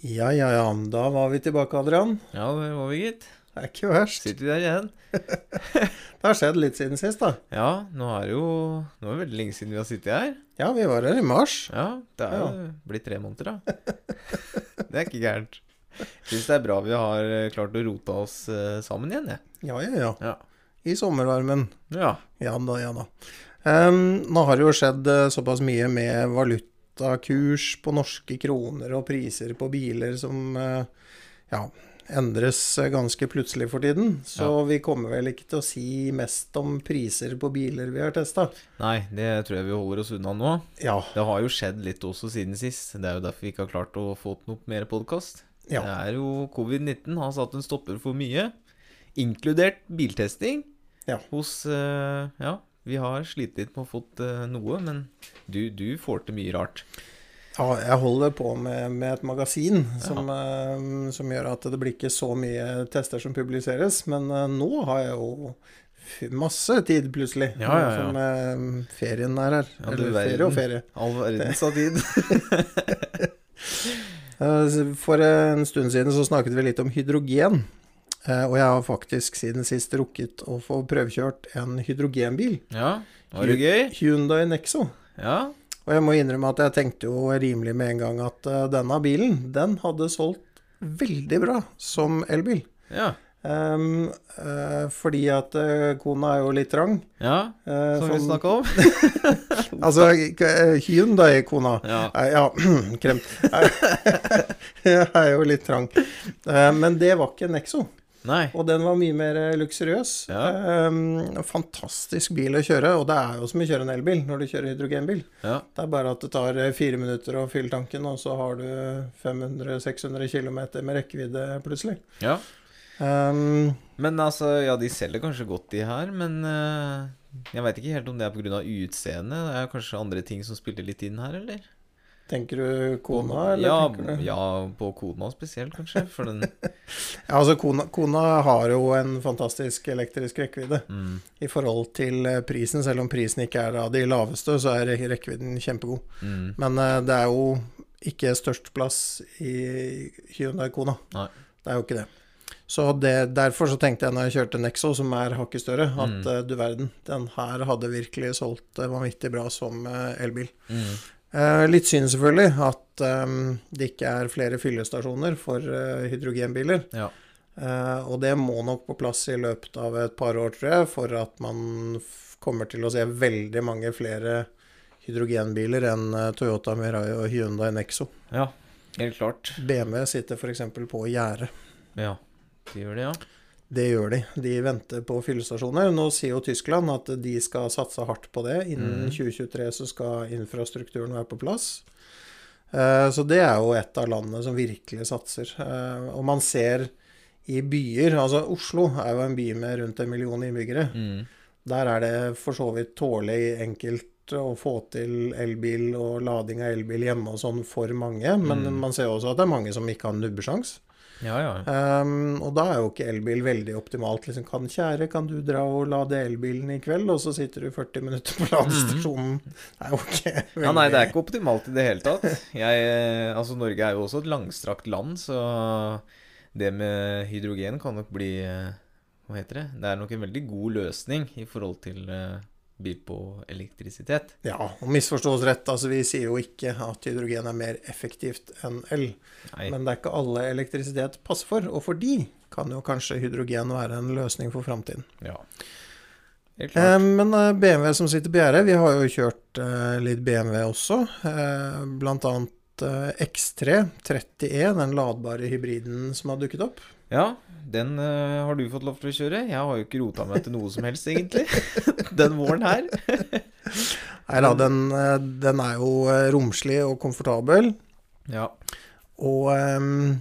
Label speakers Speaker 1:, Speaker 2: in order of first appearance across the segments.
Speaker 1: Ja, ja, ja. Da var vi tilbake, Adrian.
Speaker 2: Ja, det var vi, gitt.
Speaker 1: Det er ikke verst.
Speaker 2: Sitter vi der igjen.
Speaker 1: Det har skjedd litt siden sist, da.
Speaker 2: Ja, nå er det jo Nå er det veldig lenge siden vi har sittet her.
Speaker 1: Ja, vi var her i mars.
Speaker 2: Ja, det er jo blitt tre måneder, da. Det er ikke gærent. Jeg syns det er bra vi har eh, klart å rote oss eh, sammen igjen, jeg.
Speaker 1: Ja, ja, ja.
Speaker 2: Ja.
Speaker 1: I sommervarmen.
Speaker 2: Ja.
Speaker 1: Ja da, ja da. Em, nå har det jo skjedd eh, såpass mye med valutakurs på norske kroner og priser på biler som eh, ja, endres eh, ganske plutselig for tiden. Så vi kommer vel ikke til å si mest om priser på biler vi har testa.
Speaker 2: Nei, det tror jeg vi holder oss unna nå.
Speaker 1: Ja,
Speaker 2: Det har jo skjedd litt også siden sist. Det er jo derfor vi ikke har klart å få til noe mer podkast.
Speaker 1: Ja.
Speaker 2: Det er jo covid-19 har satt en stopper for mye, inkludert biltesting.
Speaker 1: Ja.
Speaker 2: Hos eh, Ja, vi har slitt litt med å få til noe, men du, du får til mye rart.
Speaker 1: Ja, jeg holder på med, med et magasin som, eh, som gjør at det blir ikke så mye tester som publiseres. Men eh, nå har jeg jo f- masse tid, plutselig.
Speaker 2: Ja, ja, ja.
Speaker 1: Som eh, ferien er her.
Speaker 2: Ja, du
Speaker 1: Eller
Speaker 2: verden.
Speaker 1: ferie og ferie.
Speaker 2: All verdens av tid.
Speaker 1: Eh, For en stund siden så snakket vi litt om hydrogen. Eh, Og jeg har faktisk siden sist rukket å få prøvekjørt en hydrogenbil.
Speaker 2: Ja, var det gøy?
Speaker 1: Hyundai Nexo.
Speaker 2: Ja.
Speaker 1: Og jeg må innrømme at jeg tenkte jo rimelig med en gang at eh, denne bilen, den hadde solgt veldig bra som elbil.
Speaker 2: Ja.
Speaker 1: Ehm, eh, fordi at eh, kona er jo litt trang.
Speaker 2: ja.
Speaker 1: eh,
Speaker 2: Som vi
Speaker 1: sånn-
Speaker 2: snakka om.
Speaker 1: Altså, eh, Hyundai-kona
Speaker 2: Ja.
Speaker 1: Eh, Ja, kremt. Jeg er jo litt trang. Eh, Men det var ikke Nexo.
Speaker 2: Nei.
Speaker 1: Og den var mye mer eh, luksuriøs.
Speaker 2: Ja.
Speaker 1: Ehm, fantastisk bil å kjøre, og det er jo som å kjøre en elbil når du kjører hydrogenbil.
Speaker 2: Ja.
Speaker 1: Det er bare at det tar eh, fire minutter å fylle tanken, og så har du 500-600 km med rekkevidde plutselig.
Speaker 2: ja.
Speaker 1: Ehm,
Speaker 2: Men altså, ja, de selger kanskje godt de her, men eh, jeg veit ikke helt om det er pga. utseendet. Det er kanskje andre ting som spiller litt inn her, eller?
Speaker 1: tenker du kona, eller
Speaker 2: ja,
Speaker 1: tenker du
Speaker 2: ja, på kona spesielt, kanskje. For den
Speaker 1: Ja, altså kona, kona har jo en fantastisk elektrisk rekkevidde
Speaker 2: mm,
Speaker 1: i forhold til eh, prisen. Selv om prisen ikke er av de laveste, så er re- rekkevidden kjempegod.
Speaker 2: mm,
Speaker 1: Men eh, det er jo ikke størst plass i Hyundai Kona.
Speaker 2: Nei.
Speaker 1: Det er jo ikke det. Så det, derfor så tenkte jeg når jeg kjørte Nexo, som er hakket større, at
Speaker 2: Mm.
Speaker 1: eh, du verden, den her hadde virkelig solgt eh, vanvittig bra som eh, elbil.
Speaker 2: mm.
Speaker 1: Eh, litt synd selvfølgelig at eh, det ikke er flere fyllestasjoner for eh, hydrogenbiler.
Speaker 2: Ja.
Speaker 1: Eh, og det må nok på plass i løpet av et par år, tror jeg, for at man f kommer til å se veldig mange flere hydrogenbiler enn eh, Toyota Mirai og Hyundai Nexo.
Speaker 2: ja. Helt klart.
Speaker 1: BMW sitter f.eks. på gjerdet.
Speaker 2: Ja. De gjør det, ja.
Speaker 1: Det gjør de. De venter på fyllestasjoner. Nå sier jo Tyskland at de skal satse hardt på det. Innen
Speaker 2: Mm.
Speaker 1: 2023 så skal infrastrukturen være på plass. Eh, Så det er jo et av landene som virkelig satser. Eh, Og man ser i byer Altså Oslo er jo en by med rundt en million innbyggere.
Speaker 2: Mm.
Speaker 1: Der er det for så vidt tålelig enkelt å få til elbil og lading av elbil hjemme og sånn for mange. Men
Speaker 2: Mm.
Speaker 1: man ser også at det er mange som ikke har nubbesjans.
Speaker 2: Ja, ja.
Speaker 1: Ehm, og da er jo ikke elbil veldig optimalt. Liksom, kan kjære, kan du dra og lade elbilen i kveld? Og så sitter du 40 minutter på ladestasjonen. Det er jo ikke
Speaker 2: Mm. Ja, nei, det er ikke optimalt i det hele tatt. Jeg, eh, altså, Norge er jo også et langstrakt land, så det med hydrogen kan nok bli eh, Hva heter det? Det er nok en veldig god løsning i forhold til eh, bil på elektrisitet.
Speaker 1: Ja, og misforstås rett. Altså, vi sier jo ikke at hydrogen er mer effektivt enn el.
Speaker 2: Nei.
Speaker 1: Men det er ikke alle elektrisitet passer for. Og for de kan jo kanskje hydrogen være en løsning for framtiden.
Speaker 2: Ja. Helt klart.
Speaker 1: Eh, Men eh, BMW som sitter på gjerdet, vi har jo kjørt eh, litt BMW også. eh, Blant annet eh, X3 30E, E, den ladbare hybriden som har dukket opp.
Speaker 2: Ja, den eh, har du fått lov til å kjøre. Jeg har jo ikke rota meg til noe som helst, egentlig. Den våren her.
Speaker 1: Nei
Speaker 2: Mm.
Speaker 1: da, den, eh, den er jo eh, romslig og komfortabel,
Speaker 2: Ja.
Speaker 1: og eh,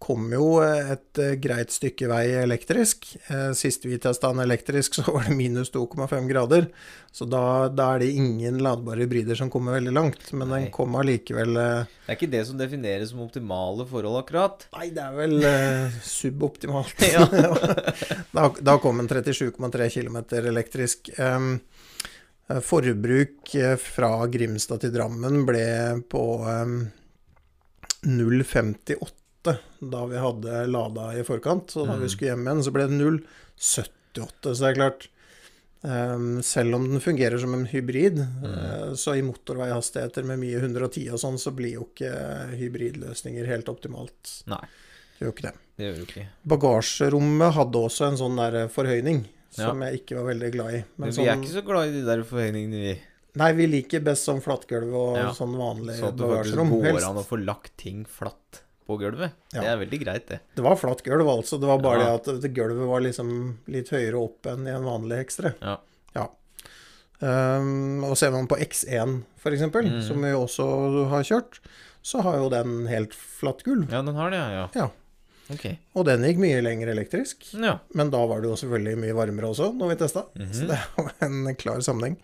Speaker 1: kom jo et eh, greit stykke vei elektrisk. Eh, Sist vi testa den elektrisk, så var det minus 2,5 grader. Så da, da er det ingen ladbare hybrider som kommer veldig langt. Men
Speaker 2: Nei.
Speaker 1: den kom allikevel eh,
Speaker 2: Det er ikke det som defineres som optimale forhold, akkurat.
Speaker 1: Nei, det er vel eh, suboptimalt.
Speaker 2: Ja.
Speaker 1: da, da kom en 37,3 km elektrisk. Em, eh, forbruk eh, fra Grimstad til Drammen ble på em, 0,58 da vi hadde lada i forkant. Så da vi skulle hjem igjen, så ble det 0,78. Så det er klart ehm, Selv om den fungerer som en hybrid, eh, så i motorveihastigheter med mye 110 og sånn, så blir jo ikke hybridløsninger helt optimalt.
Speaker 2: Nei,
Speaker 1: Det gjør jo ikke det.
Speaker 2: det gjør du ikke.
Speaker 1: Bagasjerommet hadde også en sånn der forhøyning
Speaker 2: Ja.
Speaker 1: som jeg ikke var veldig glad i.
Speaker 2: Men
Speaker 1: Men
Speaker 2: vi er
Speaker 1: sånn,
Speaker 2: ikke så glad i de der forhøyningene, vi.
Speaker 1: nei, vi liker best sånn flattgulv og
Speaker 2: Ja.
Speaker 1: sånn vanlig
Speaker 2: Sånn at det faktisk
Speaker 1: bagasjerom.
Speaker 2: går
Speaker 1: Helst.
Speaker 2: an å få lagt ting flatt på gulvet.
Speaker 1: Ja.
Speaker 2: Det er veldig greit, det.
Speaker 1: Det var flatt gulv, altså. Det var bare
Speaker 2: Ja.
Speaker 1: det at det gulvet var liksom litt høyere opp enn i en vanlig X3.
Speaker 2: Ja.
Speaker 1: Ehm, og ser man på X1 f.eks., eksempel,
Speaker 2: Mhm.
Speaker 1: som vi også har kjørt, så har jo den helt flatt gulv.
Speaker 2: ja, den har det, ja.
Speaker 1: Ja.
Speaker 2: Ok. Hm,
Speaker 1: Og den gikk mye lenger elektrisk.
Speaker 2: Ja.
Speaker 1: Men da var det jo selvfølgelig mye varmere også, når vi testa. Så
Speaker 2: Mhm.
Speaker 1: det var en klar sammenheng.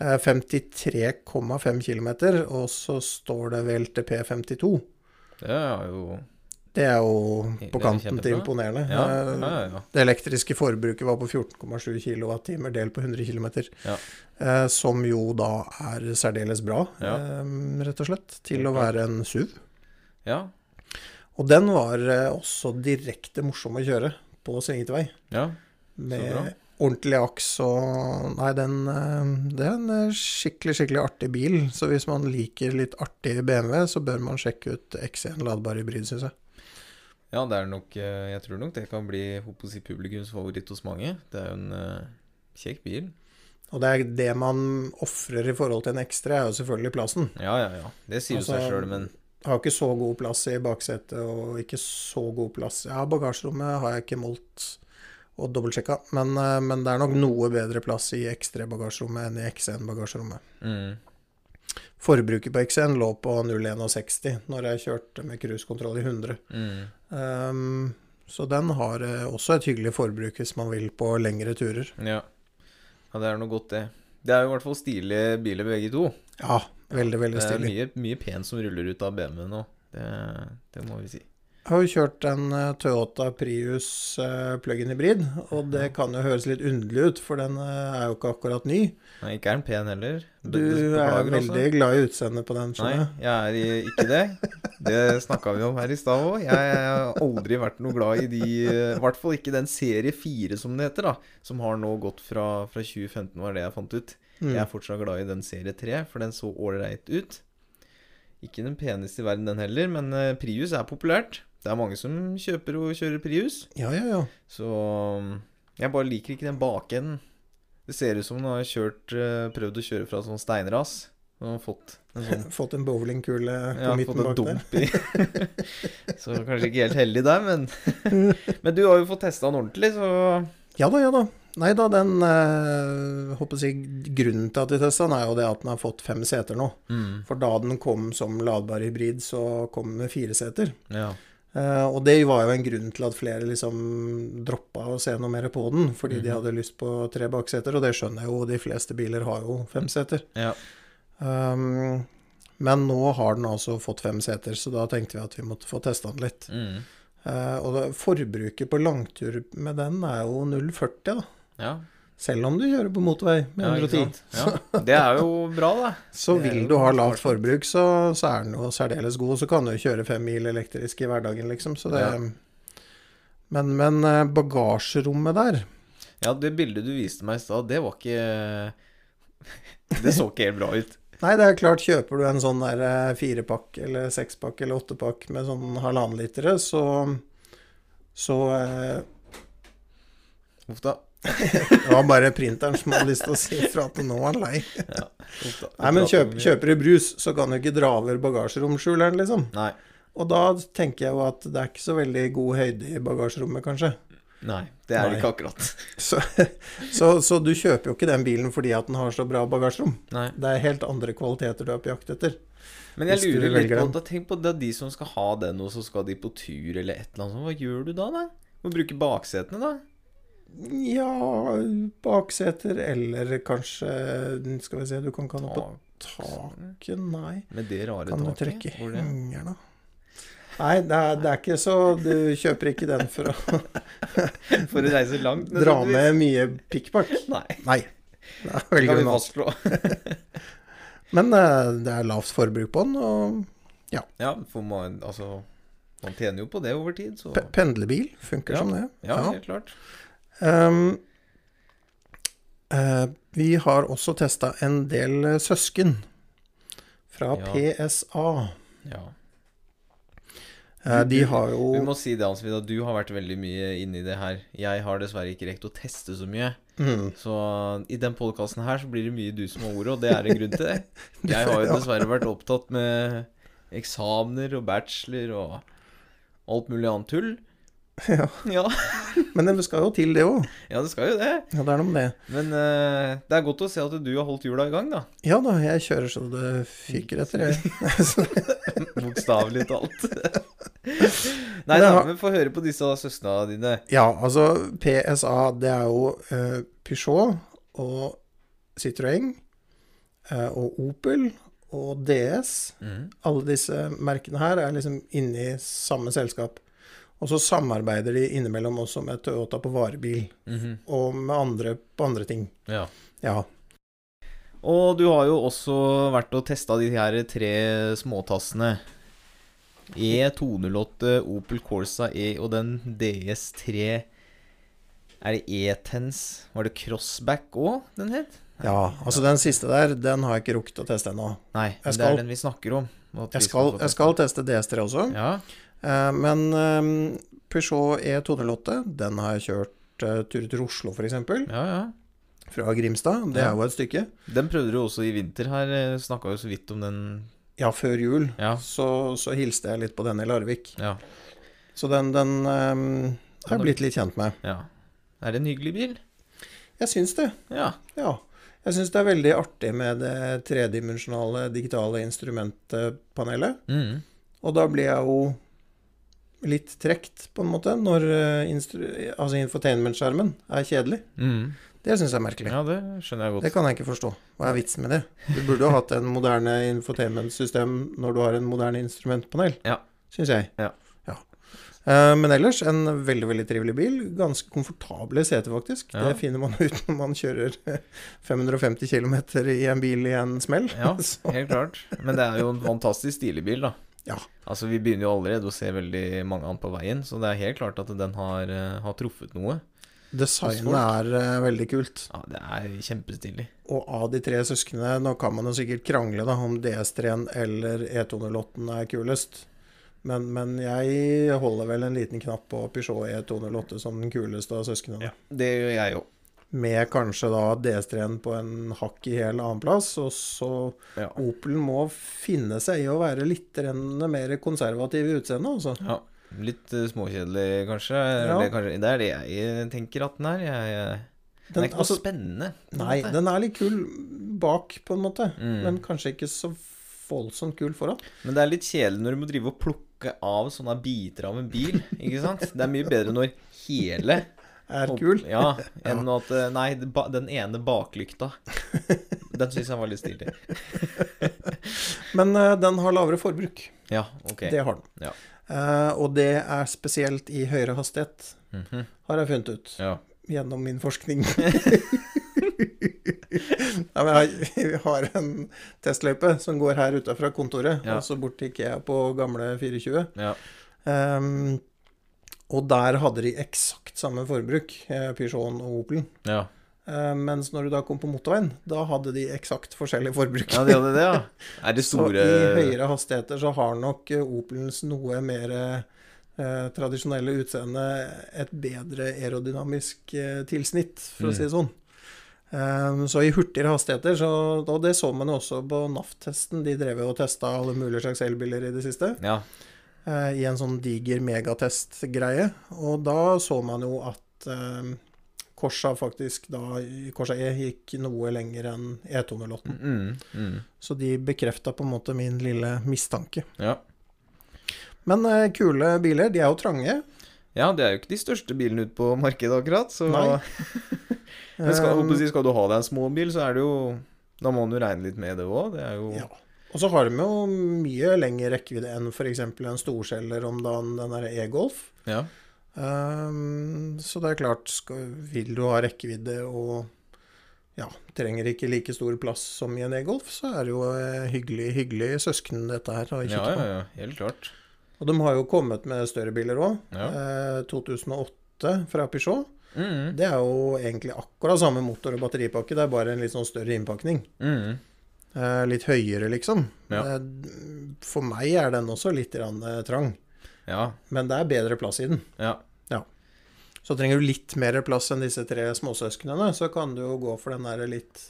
Speaker 1: Eh, 53,5 km, og så står det VLTP 52.
Speaker 2: Det er jo
Speaker 1: Det er jo
Speaker 2: Det
Speaker 1: på
Speaker 2: er
Speaker 1: kanten til
Speaker 2: kjempebra.
Speaker 1: imponerende.
Speaker 2: Ja, ja,
Speaker 1: Eh,
Speaker 2: ja. ja.
Speaker 1: Det elektriske forbruket var på 14,7 kWh delt på 100 km.
Speaker 2: Ja.
Speaker 1: Eh, som jo da er særdeles bra,
Speaker 2: Ja.
Speaker 1: eh, rett og slett, til
Speaker 2: Helt
Speaker 1: å
Speaker 2: klart.
Speaker 1: være en SUV.
Speaker 2: ja.
Speaker 1: Og den var eh, også direkte morsom å kjøre på svingete vei.
Speaker 2: ja. bra.
Speaker 1: Med ordentlig aks og Nei, den eh, Det er en eh, skikkelig, skikkelig artig bil. Så hvis man liker litt artig BMW, så bør man sjekke ut X1 ladbar hybrid, syns jeg.
Speaker 2: Ja, det er nok eh, Jeg tror nok det kan bli håper å si, publikums favoritt hos mange. Det er jo en eh, kjekk bil.
Speaker 1: Og det er det man ofrer i forhold til en ekstra, er jo selvfølgelig plassen.
Speaker 2: Ja, ja, ja. Det sier jo
Speaker 1: Altså,
Speaker 2: seg sjøl, men
Speaker 1: Har ikke så god plass i baksetet, og ikke så god plass Ja, bagasjerommet har jeg ikke målt og dobbeltsjekka, men, eh, men det er nok noe bedre plass i X3-bagasjerommet enn i X1-bagasjerommet.
Speaker 2: mm.
Speaker 1: Forbruket på X1 lå på 0,61 når jeg kjørte med cruisekontroll i 100.
Speaker 2: Mm.
Speaker 1: Ehm, så den har eh, også et hyggelig forbruk hvis man vil på lengre turer.
Speaker 2: Ja. ja, det er noe godt, det. Det er jo i hvert fall stilige biler, begge to.
Speaker 1: Ja, veldig, veldig
Speaker 2: Det er
Speaker 1: stilig.
Speaker 2: mye, mye pent som ruller ut av BMW-en nå. Det, det må vi si.
Speaker 1: Jeg har jo kjørt en eh, Toyota Prius eh, plug-in hybrid, og det kan jo høres litt underlig ut, for den eh, er jo ikke akkurat ny.
Speaker 2: Nei, ikke er den pen heller.
Speaker 1: Du
Speaker 2: Beklager,
Speaker 1: er
Speaker 2: altså.
Speaker 1: veldig glad i utseendet på den,
Speaker 2: Nei,
Speaker 1: skjønner jeg.
Speaker 2: jeg er i- ikke det. Det snakka vi om her i stad òg. Jeg har aldri vært noe glad i de I hvert fall ikke den serie fire, som det heter, da. Som har nå gått fra, fra 2015, var det jeg fant ut.
Speaker 1: Mm.
Speaker 2: Jeg er fortsatt glad i den serie tre, for den så ålreit ut. Ikke den peneste i verden, den heller, men eh, Prius er populært. Det er mange som kjøper og kjører Prius.
Speaker 1: Ja, ja, ja.
Speaker 2: Så um, jeg bare liker ikke den bakenden. Det ser ut som hun har kjørt, eh, prøvd å kjøre fra sånn steinras. Hun har fått en sånn
Speaker 1: Fått en bowlingkule på
Speaker 2: ja, fått
Speaker 1: midten
Speaker 2: en
Speaker 1: bak der.
Speaker 2: dump i. så kanskje ikke helt heldig der, men Men du har jo fått testa den ordentlig, så
Speaker 1: Ja da, ja da. Nei da, den eh, håper jeg, å si, Grunnen til at vi testa den, er jo det at den har fått fem seter nå.
Speaker 2: Mm,
Speaker 1: For da den kom som ladbar hybrid, så kom den med fire seter.
Speaker 2: ja.
Speaker 1: Eh, og det var jo en grunn til at flere liksom droppa å se noe mer på den, fordi de hadde lyst på tre bakseter, og det skjønner jeg jo, de fleste biler har jo fem seter.
Speaker 2: Ja.
Speaker 1: Um, men nå har den altså fått fem seter, så da tenkte vi at vi måtte få testa den litt.
Speaker 2: Mm.
Speaker 1: Eh, og da, forbruket på langtur med den er jo 0,40, da.
Speaker 2: ja.
Speaker 1: Selv om du kjører på motorvei med
Speaker 2: ja, ikke
Speaker 1: 110.
Speaker 2: sant? Ja. Det er jo bra, da.
Speaker 1: Så
Speaker 2: Det er
Speaker 1: vil
Speaker 2: jo
Speaker 1: du ha
Speaker 2: ganske
Speaker 1: lavt
Speaker 2: smart.
Speaker 1: forbruk, så, så er den jo særdeles god. Så kan du jo kjøre fem mil elektrisk i hverdagen, liksom. Så det,
Speaker 2: Ja.
Speaker 1: men, men eh, bagasjerommet der
Speaker 2: Ja, det bildet du viste meg i stad, det var ikke Det så ikke helt bra ut.
Speaker 1: Nei, det er klart, kjøper du en sånn der eh, firepakk eller sekspakk eller åttepakk med sånn halvannen litere, så så eh,
Speaker 2: Uff da.
Speaker 1: Det var bare printeren som hadde lyst til å si fra at nå er han lei.
Speaker 2: Uff da.
Speaker 1: Nei, men
Speaker 2: Vi prater
Speaker 1: kjøp,
Speaker 2: mye.
Speaker 1: kjøper du brus, så kan du ikke dra over bagasjeromskjuleren, liksom.
Speaker 2: Nei.
Speaker 1: Og da tenker jeg jo at det er ikke så veldig god høyde i bagasjerommet, kanskje.
Speaker 2: Nei, det er
Speaker 1: Nei.
Speaker 2: det ikke akkurat.
Speaker 1: Så, så, så du kjøper jo ikke den bilen fordi at den har så bra bagasjerom.
Speaker 2: Nei.
Speaker 1: Det er helt andre kvaliteter du er på jakt etter.
Speaker 2: Men jeg
Speaker 1: Hvis du
Speaker 2: lurer litt
Speaker 1: velger
Speaker 2: på
Speaker 1: den.
Speaker 2: da, Tenk på det er de som skal ha den, og så skal de på tur eller et eller annet. sånt. Hva gjør du da, da? Må bruke baksetene, da?
Speaker 1: Ja, bakseter eller kanskje Skal vi se, du kan ikke ha noe på
Speaker 2: Ta-
Speaker 1: taket, nei.
Speaker 2: Med det rare
Speaker 1: Kan du
Speaker 2: taket?
Speaker 1: trekke i
Speaker 2: hvor det-
Speaker 1: hengeren, da? Nei, det er, det er ikke så Du kjøper ikke den for å
Speaker 2: For å reise langt?
Speaker 1: dra
Speaker 2: nødvendigvis.
Speaker 1: med mye pikkpakk.
Speaker 2: Nei,
Speaker 1: Nei. Det er
Speaker 2: det
Speaker 1: veldig
Speaker 2: kan vi
Speaker 1: unna.
Speaker 2: fastslå.
Speaker 1: Men eh, det er lavt forbruk på den, og Ja.
Speaker 2: ja for man, altså, man tjener jo på det over tid, så
Speaker 1: Pe pendlebil funker som det.
Speaker 2: ja, helt klart.
Speaker 1: Ehm, eh, vi har også testa en del eh, søsken fra
Speaker 2: Ja.
Speaker 1: PSA.
Speaker 2: Ja.
Speaker 1: Eh, de
Speaker 2: Du-
Speaker 1: har
Speaker 2: Vi
Speaker 1: jo
Speaker 2: må si det, Ansvin, at du har vært veldig mye inni det her. Jeg har dessverre ikke rekt å teste så mye.
Speaker 1: mm,
Speaker 2: Så i den podkasten her så blir det mye du som har ordet, og det er en grunn til det. Jeg har jo
Speaker 1: Ja.
Speaker 2: dessverre vært opptatt med eksamener og bachelor og alt mulig annet tull.
Speaker 1: Ja.
Speaker 2: Ja,
Speaker 1: Men det skal jo til, det òg.
Speaker 2: ja det skal jo det.
Speaker 1: Ja, det er noe med det.
Speaker 2: Men eh, det er godt å se at du har holdt hjula i gang, da.
Speaker 1: Ja da, jeg kjører så det fyker etter, jeg. Så
Speaker 2: Bokstavelig talt. Nei
Speaker 1: Men
Speaker 2: da,
Speaker 1: har-
Speaker 2: men få høre på disse søstrene dine.
Speaker 1: Ja, altså PSA, det er jo eh, Peugeot og Citroën eh, og Opel og DS.
Speaker 2: Mm,
Speaker 1: Alle disse merkene her er liksom inne i samme selskap. Og så samarbeider de innimellom også med Toyota på varebil
Speaker 2: Mhm.
Speaker 1: og med andre på andre ting.
Speaker 2: Ja.
Speaker 1: Ja.
Speaker 2: Og du har jo også vært og testa de her tre småtassene. E E208 Opel Corsa E og den DS3 Er det E-Tens? Var det Crossback òg den het?
Speaker 1: ja. Altså den siste der, den har jeg ikke rukket å teste ennå.
Speaker 2: Nei, men det
Speaker 1: skal-
Speaker 2: er den vi snakker om. at vi
Speaker 1: Jeg skal,
Speaker 2: få
Speaker 1: jeg skal teste DS3 også.
Speaker 2: teste. Ja.
Speaker 1: Eh, Men eh, Peugeot E208, den har jeg kjørt eh, turer til Oslo f.eks.
Speaker 2: ja, ja.
Speaker 1: Fra Grimstad. Det
Speaker 2: Ja.
Speaker 1: er jo et stykke.
Speaker 2: Den prøvde du også i vinter her. Snakka jo så vidt om den.
Speaker 1: Ja, før jul
Speaker 2: Ja.
Speaker 1: så, så hilste jeg litt på den i Larvik.
Speaker 2: ja,
Speaker 1: Så den, den eh, har
Speaker 2: Den er-
Speaker 1: jeg blitt litt kjent med.
Speaker 2: ja. Er det en hyggelig bil?
Speaker 1: Jeg syns det.
Speaker 2: Ja.
Speaker 1: Ja. Jeg syns det er veldig artig med det tredimensjonale digitale instrumentpanelet.
Speaker 2: Mm.
Speaker 1: Og da blir jeg jo litt trekt, på en måte, når eh, instru altså infotainment-skjermen er kjedelig.
Speaker 2: Mm.
Speaker 1: Det syns jeg er merkelig.
Speaker 2: Ja, det skjønner jeg godt.
Speaker 1: Det kan jeg ikke forstå. Hva er vitsen med det? Du burde jo hatt en moderne infotainment-system når du har en moderne instrumentpanel,
Speaker 2: Ja.
Speaker 1: syns jeg.
Speaker 2: Ja.
Speaker 1: Ja. Eh, Men ellers en veldig veldig trivelig bil. Ganske komfortable seter, faktisk.
Speaker 2: Ja.
Speaker 1: Det finner man ut når man kjører 550 km i en bil i en smell.
Speaker 2: Ja.
Speaker 1: Så,
Speaker 2: Helt klart. Men det er jo en fantastisk stilig bil, da.
Speaker 1: Ja.
Speaker 2: Altså, Vi begynner jo allerede å se veldig mange an på veien, så det er helt klart at den har, eh, har truffet noe.
Speaker 1: designet er eh, veldig kult.
Speaker 2: Ja, Det er kjempestilig.
Speaker 1: Og av de tre søsknene Nå kan man jo sikkert krangle da, om DS3-en eller E E208-en er kulest. Men, men jeg holder vel en liten knapp på Peugeot E E208 som den kuleste av søsknene.
Speaker 2: Det gjør jeg jo.
Speaker 1: Med kanskje da DS3-en på en hakk i hel annenplass. Og så
Speaker 2: Ja.
Speaker 1: Opel må finne seg i å være litt grann mer konservativ i utseendet, altså.
Speaker 2: ja. Litt eh, småkjedelig, kanskje.
Speaker 1: Ja.
Speaker 2: Eller kanskje. Det er det jeg tenker at den er. Jeg, eh, den er
Speaker 1: Den,
Speaker 2: ikke noe
Speaker 1: altså,
Speaker 2: spennende. på en
Speaker 1: nei,
Speaker 2: måte.
Speaker 1: den er litt kul bak, på en måte.
Speaker 2: Mm.
Speaker 1: Men kanskje ikke så voldsomt kul foran.
Speaker 2: Men det er litt kjedelig når du må drive og plukke av sånne biter av en bil. ikke sant? Det er mye bedre når hele
Speaker 1: Er kul.
Speaker 2: Ja, enn at eh, Nei, det ba- den ene baklykta. Den syns jeg var litt stilig.
Speaker 1: Men eh, den har lavere forbruk.
Speaker 2: Ja, ok.
Speaker 1: Det har den.
Speaker 2: Ja.
Speaker 1: Eh, og det er spesielt i høyere hastighet,
Speaker 2: Mhm.
Speaker 1: har jeg funnet ut
Speaker 2: Ja.
Speaker 1: gjennom min forskning. Nei, men jeg, vi har en testløype som går her ute fra kontoret,
Speaker 2: Ja.
Speaker 1: og så bort til IKEA på gamle 420.
Speaker 2: Ja.
Speaker 1: Ehm, og der hadde de eksakt samme forbruk, eh, Peugeoten og Opelen.
Speaker 2: Ja.
Speaker 1: Eh, mens når du da kom på motorveien, da hadde de eksakt forskjellig forbruk.
Speaker 2: ja, de hadde det, ja. Er det store
Speaker 1: Så i høyere hastigheter så har nok eh, Opelens noe mer eh, tradisjonelle utseende et bedre aerodynamisk eh, tilsnitt, for å si det sånn. Eh, så i hurtigere hastigheter, så, og det så man jo også på NAF-testen, de drev jo og testa alle mulige slags elbiler i det siste,
Speaker 2: Ja.
Speaker 1: eh, i en sånn diger megatest-greie, og da så man jo at eh, Korsa faktisk da, Korsa E gikk noe lenger enn E E208.
Speaker 2: Mm, mm.
Speaker 1: Så de bekrefta på en måte min lille mistanke.
Speaker 2: ja.
Speaker 1: Men eh, kule biler, de er jo trange.
Speaker 2: Ja, det er jo ikke de største bilene ute på markedet akkurat, så
Speaker 1: Nei.
Speaker 2: Men skal,
Speaker 1: Um,
Speaker 2: håper jeg å si, skal du ha deg en småbil, så er det jo Da må du regne litt med det òg. Det er jo
Speaker 1: Ja. Og så har de jo mye lengre rekkevidde enn f.eks. en storskjeller om dagen, den derre E-Golf. Ehm,
Speaker 2: Ja.
Speaker 1: Um, så det er klart, skal, vil du ha rekkevidde og ja, trenger ikke like stor plass som i en e-golf, så er det jo eh, hyggelig, hyggelig søsken dette her å kikke
Speaker 2: Ja,
Speaker 1: på.
Speaker 2: ja, ja. Helt klart.
Speaker 1: Og de har jo kommet med større biler òg.
Speaker 2: Ja.
Speaker 1: Eh, 2008 fra Peugeot.
Speaker 2: Mm,
Speaker 1: Det er jo egentlig akkurat samme motor og batteripakke, det er bare en litt sånn større innpakning.
Speaker 2: mm.
Speaker 1: Eh, litt høyere, liksom.
Speaker 2: Ja.
Speaker 1: Eh, for meg er den også litt grann, eh, trang,
Speaker 2: Ja.
Speaker 1: men det er bedre plass i den.
Speaker 2: ja.
Speaker 1: Så trenger du litt mer plass enn disse tre småsøsknene, så kan du jo gå for den der litt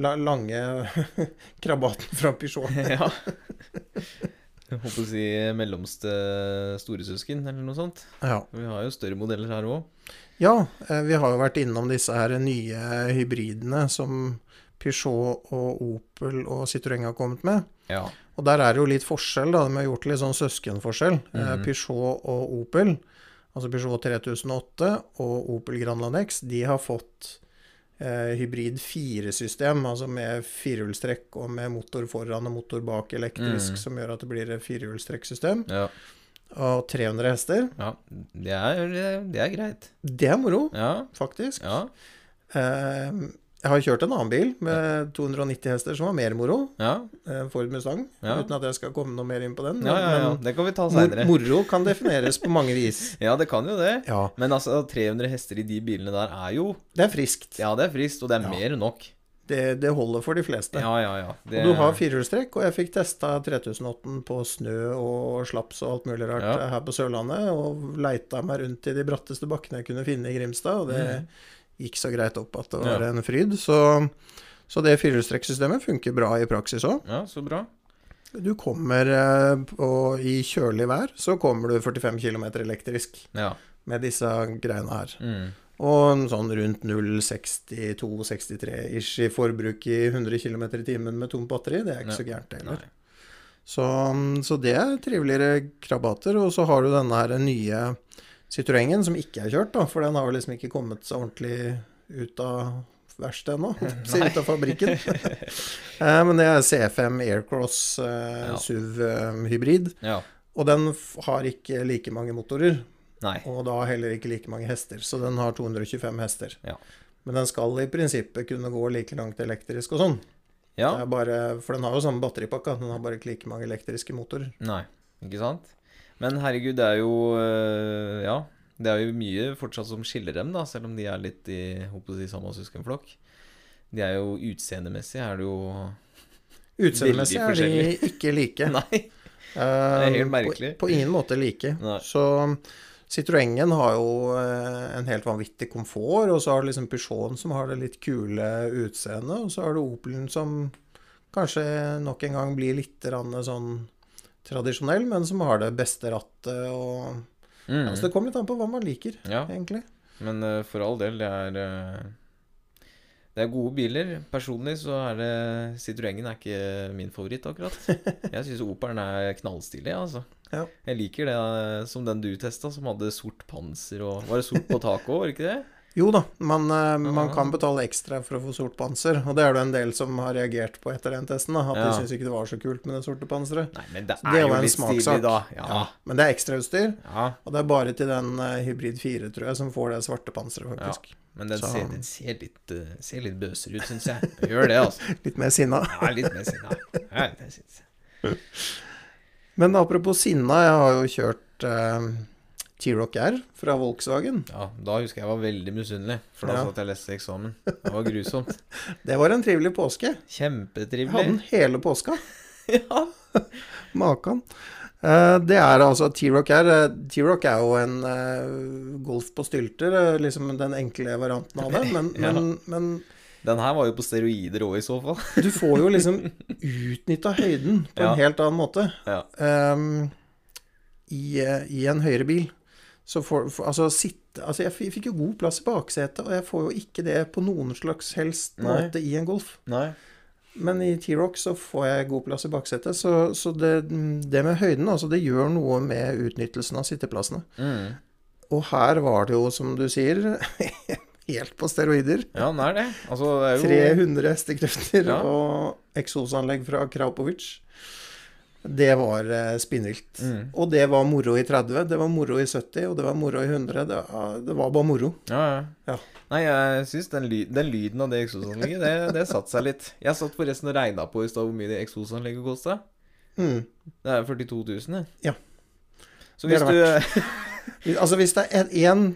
Speaker 1: la lange krabaten fra Peugeot.
Speaker 2: ja. Jeg håper å si mellomste storesøsken, eller noe sånt.
Speaker 1: Ja.
Speaker 2: Vi har jo større modeller her òg.
Speaker 1: ja, eh, vi har jo vært innom disse her nye hybridene som Peugeot og Opel og Citroën har kommet med.
Speaker 2: Ja.
Speaker 1: Og der er det jo litt forskjell, da. De har gjort litt sånn søskenforskjell. Eh,
Speaker 2: Mhm.
Speaker 1: Peugeot og Opel, altså Peugeot 3008 og Opel Granland X, de har fått eh, hybrid 4-system, altså med firehjulstrekk og med motor foran og motor bak elektrisk,
Speaker 2: Mhm.
Speaker 1: som gjør at det blir et firehjulstrekksystem.
Speaker 2: ja.
Speaker 1: Og 300 hester.
Speaker 2: ja. Det, er, det er greit.
Speaker 1: Det er moro,
Speaker 2: Ja.
Speaker 1: faktisk.
Speaker 2: Ja.
Speaker 1: Eh, jeg har kjørt en annen bil med 290 hester som var mer moro,
Speaker 2: Ja.
Speaker 1: eh, Ford Mustang,
Speaker 2: Ja.
Speaker 1: uten at jeg skal komme noe mer inn på den.
Speaker 2: Ja, ja, ja.
Speaker 1: men-
Speaker 2: Det kan vi ta
Speaker 1: Mor
Speaker 2: seinere.
Speaker 1: moro kan defineres på mange vis.
Speaker 2: Ja, det kan jo det.
Speaker 1: Ja.
Speaker 2: Men altså, 300 hester i de bilene der er jo
Speaker 1: Det er friskt.
Speaker 2: Ja, det er friskt, og det er
Speaker 1: Ja.
Speaker 2: mer enn nok.
Speaker 1: Det, det holder for de fleste.
Speaker 2: Ja, ja, ja. Det,
Speaker 1: Og du har firehjulstrekk, og jeg fikk testa 3008 på snø og slaps og alt mulig rart
Speaker 2: Ja.
Speaker 1: eh, her på Sørlandet, og leita meg rundt i de bratteste bakkene jeg kunne finne i Grimstad, og det gikk så greit opp at det var
Speaker 2: Mm. Ja.
Speaker 1: en fryd. Så, så det firehjulstrekksystemet funker bra i praksis òg.
Speaker 2: Ja, så bra.
Speaker 1: Du kommer eh, på, i kjølig vær, så kommer du 45 km elektrisk
Speaker 2: Ja.
Speaker 1: med disse greiene her.
Speaker 2: Mm.
Speaker 1: Og en sånn rundt 0,62-63-ish i forbruk i 100 km i timen med tomt batteri, det er ikke
Speaker 2: Nei.
Speaker 1: så gærent heller.
Speaker 2: Nei.
Speaker 1: Så, mm, så det er triveligere krabater. Og så har du denne her nye Citroengen som ikke er kjørt, da, for den har jo liksom ikke kommet seg ordentlig ut av verkstedet ennå. holdt jeg på å si, Ut av fabrikken. Eh, Men det er C5 Aircross eh,
Speaker 2: Ja.
Speaker 1: SUV eh, hybrid.
Speaker 2: Ja.
Speaker 1: Og den f- har ikke like mange motorer,
Speaker 2: Nei.
Speaker 1: og da heller ikke like mange hester. Så den har 225 hester.
Speaker 2: Ja.
Speaker 1: Men den skal i prinsippet kunne gå like langt elektrisk og sånn.
Speaker 2: Ja.
Speaker 1: Det er bare, for den har jo samme batteripakka, den har bare ikke like mange elektriske motorer.
Speaker 2: Nei. Ikke sant? Men herregud, det er jo øh, Ja. Det er jo mye fortsatt som skiller dem, da, selv om de er litt i håper jeg å si, samme søskenflokk. De er jo utseendemessig er det jo
Speaker 1: Utseendemessig er de
Speaker 2: forskjellig.
Speaker 1: ikke like.
Speaker 2: Nei.
Speaker 1: Eh,
Speaker 2: helt
Speaker 1: på-
Speaker 2: merkelig.
Speaker 1: På ingen måte like.
Speaker 2: Nei.
Speaker 1: Så Citroengen har jo eh, en helt vanvittig komfort, og så har du liksom Peugeoten som har det litt kule utseendet, og så har du Opelen som kanskje nok en gang blir litt grann sånn tradisjonell, men som har det beste rattet og
Speaker 2: Mm.
Speaker 1: ja, Så det kommer litt an på hva man liker,
Speaker 2: Ja.
Speaker 1: egentlig.
Speaker 2: Men eh, for all del, det er eh, Det er gode biler. Personlig så er det Citroengen er ikke min favoritt, akkurat. Jeg syns Operen er knallstilig, altså.
Speaker 1: Ja.
Speaker 2: Jeg liker det eh, som den du testa, som hadde sort panser og Var det sort på taket òg, var det ikke det?
Speaker 1: Jo da, man, eh, man
Speaker 2: Ja.
Speaker 1: kan betale ekstra for å få sort panser, og det er det en del som har reagert på etter den testen, da, at
Speaker 2: Ja.
Speaker 1: de syns ikke det var så kult med det sorte panseret.
Speaker 2: Nei, men det
Speaker 1: Så
Speaker 2: er
Speaker 1: det
Speaker 2: jo
Speaker 1: var en
Speaker 2: litt stilig,
Speaker 1: smakssak.
Speaker 2: da. Ja.
Speaker 1: Ja, Men det er ekstrautstyr,
Speaker 2: ja.
Speaker 1: og det er bare til den eh, hybrid 4, tror jeg, som får det svarte panseret, faktisk.
Speaker 2: Men den
Speaker 1: Så-
Speaker 2: ser, den ser litt, eh, ser litt bøser ut, syns jeg. Den Gjør det, altså.
Speaker 1: Litt mer sinna.
Speaker 2: Ja, litt mer sinna. Ja, det syns jeg.
Speaker 1: Men apropos sinna, jeg har jo kjørt eh, T-Rock R fra Volkswagen.
Speaker 2: Ja, da husker jeg jeg var veldig misunnelig, for da
Speaker 1: Ja.
Speaker 2: satt jeg og leste eksamen. Det var grusomt.
Speaker 1: Det var en trivelig påske. Jeg hadde
Speaker 2: Kjempetrivelig.
Speaker 1: den hele påska.
Speaker 2: Ja.
Speaker 1: Makan. Eh, Det er altså T-Rock er eh, T-Rock er jo en eh, golf på stylter, eh, liksom den enkle varianten av det. Men,
Speaker 2: Ja.
Speaker 1: men, men
Speaker 2: Den her var jo på steroider òg, i så fall.
Speaker 1: du får jo liksom utnytta høyden på
Speaker 2: Ja.
Speaker 1: en helt annen måte.
Speaker 2: Ja.
Speaker 1: Ehm, i, eh, I en høyere bil. Så får, for, altså, sitte, altså jeg f- fikk jo god plass i baksetet, og jeg får jo ikke det på noen slags helst
Speaker 2: Nei.
Speaker 1: måte i en Golf.
Speaker 2: Nei.
Speaker 1: Men i T-Rock så får jeg god plass i baksetet, så, så det, det med høyden, altså det gjør noe med utnyttelsen av sitteplassene.
Speaker 2: Mm.
Speaker 1: Og her var det jo, som du sier, helt på steroider.
Speaker 2: Ja, den er det. Altså, det er jo
Speaker 1: 300 hestekrefter
Speaker 2: Ja.
Speaker 1: og eksosanlegg fra Kraupovic. Det var eh, spinnvilt.
Speaker 2: Mm.
Speaker 1: Og det var moro i 30, det var moro i 70, og det var moro i 100. Det var, det var bare moro.
Speaker 2: Ja, ja.
Speaker 1: Ja.
Speaker 2: Nei, jeg syns den, ly den lyden av det eksosanlegget, det, det satte seg litt. Jeg satt forresten og regna på i stad hvor mye det eksosanlegget kosta.
Speaker 1: Mm.
Speaker 2: Det er 42 000,
Speaker 1: Ja.
Speaker 2: Så
Speaker 1: Det
Speaker 2: hvis
Speaker 1: er
Speaker 2: du
Speaker 1: Hvis- Altså hvis det er én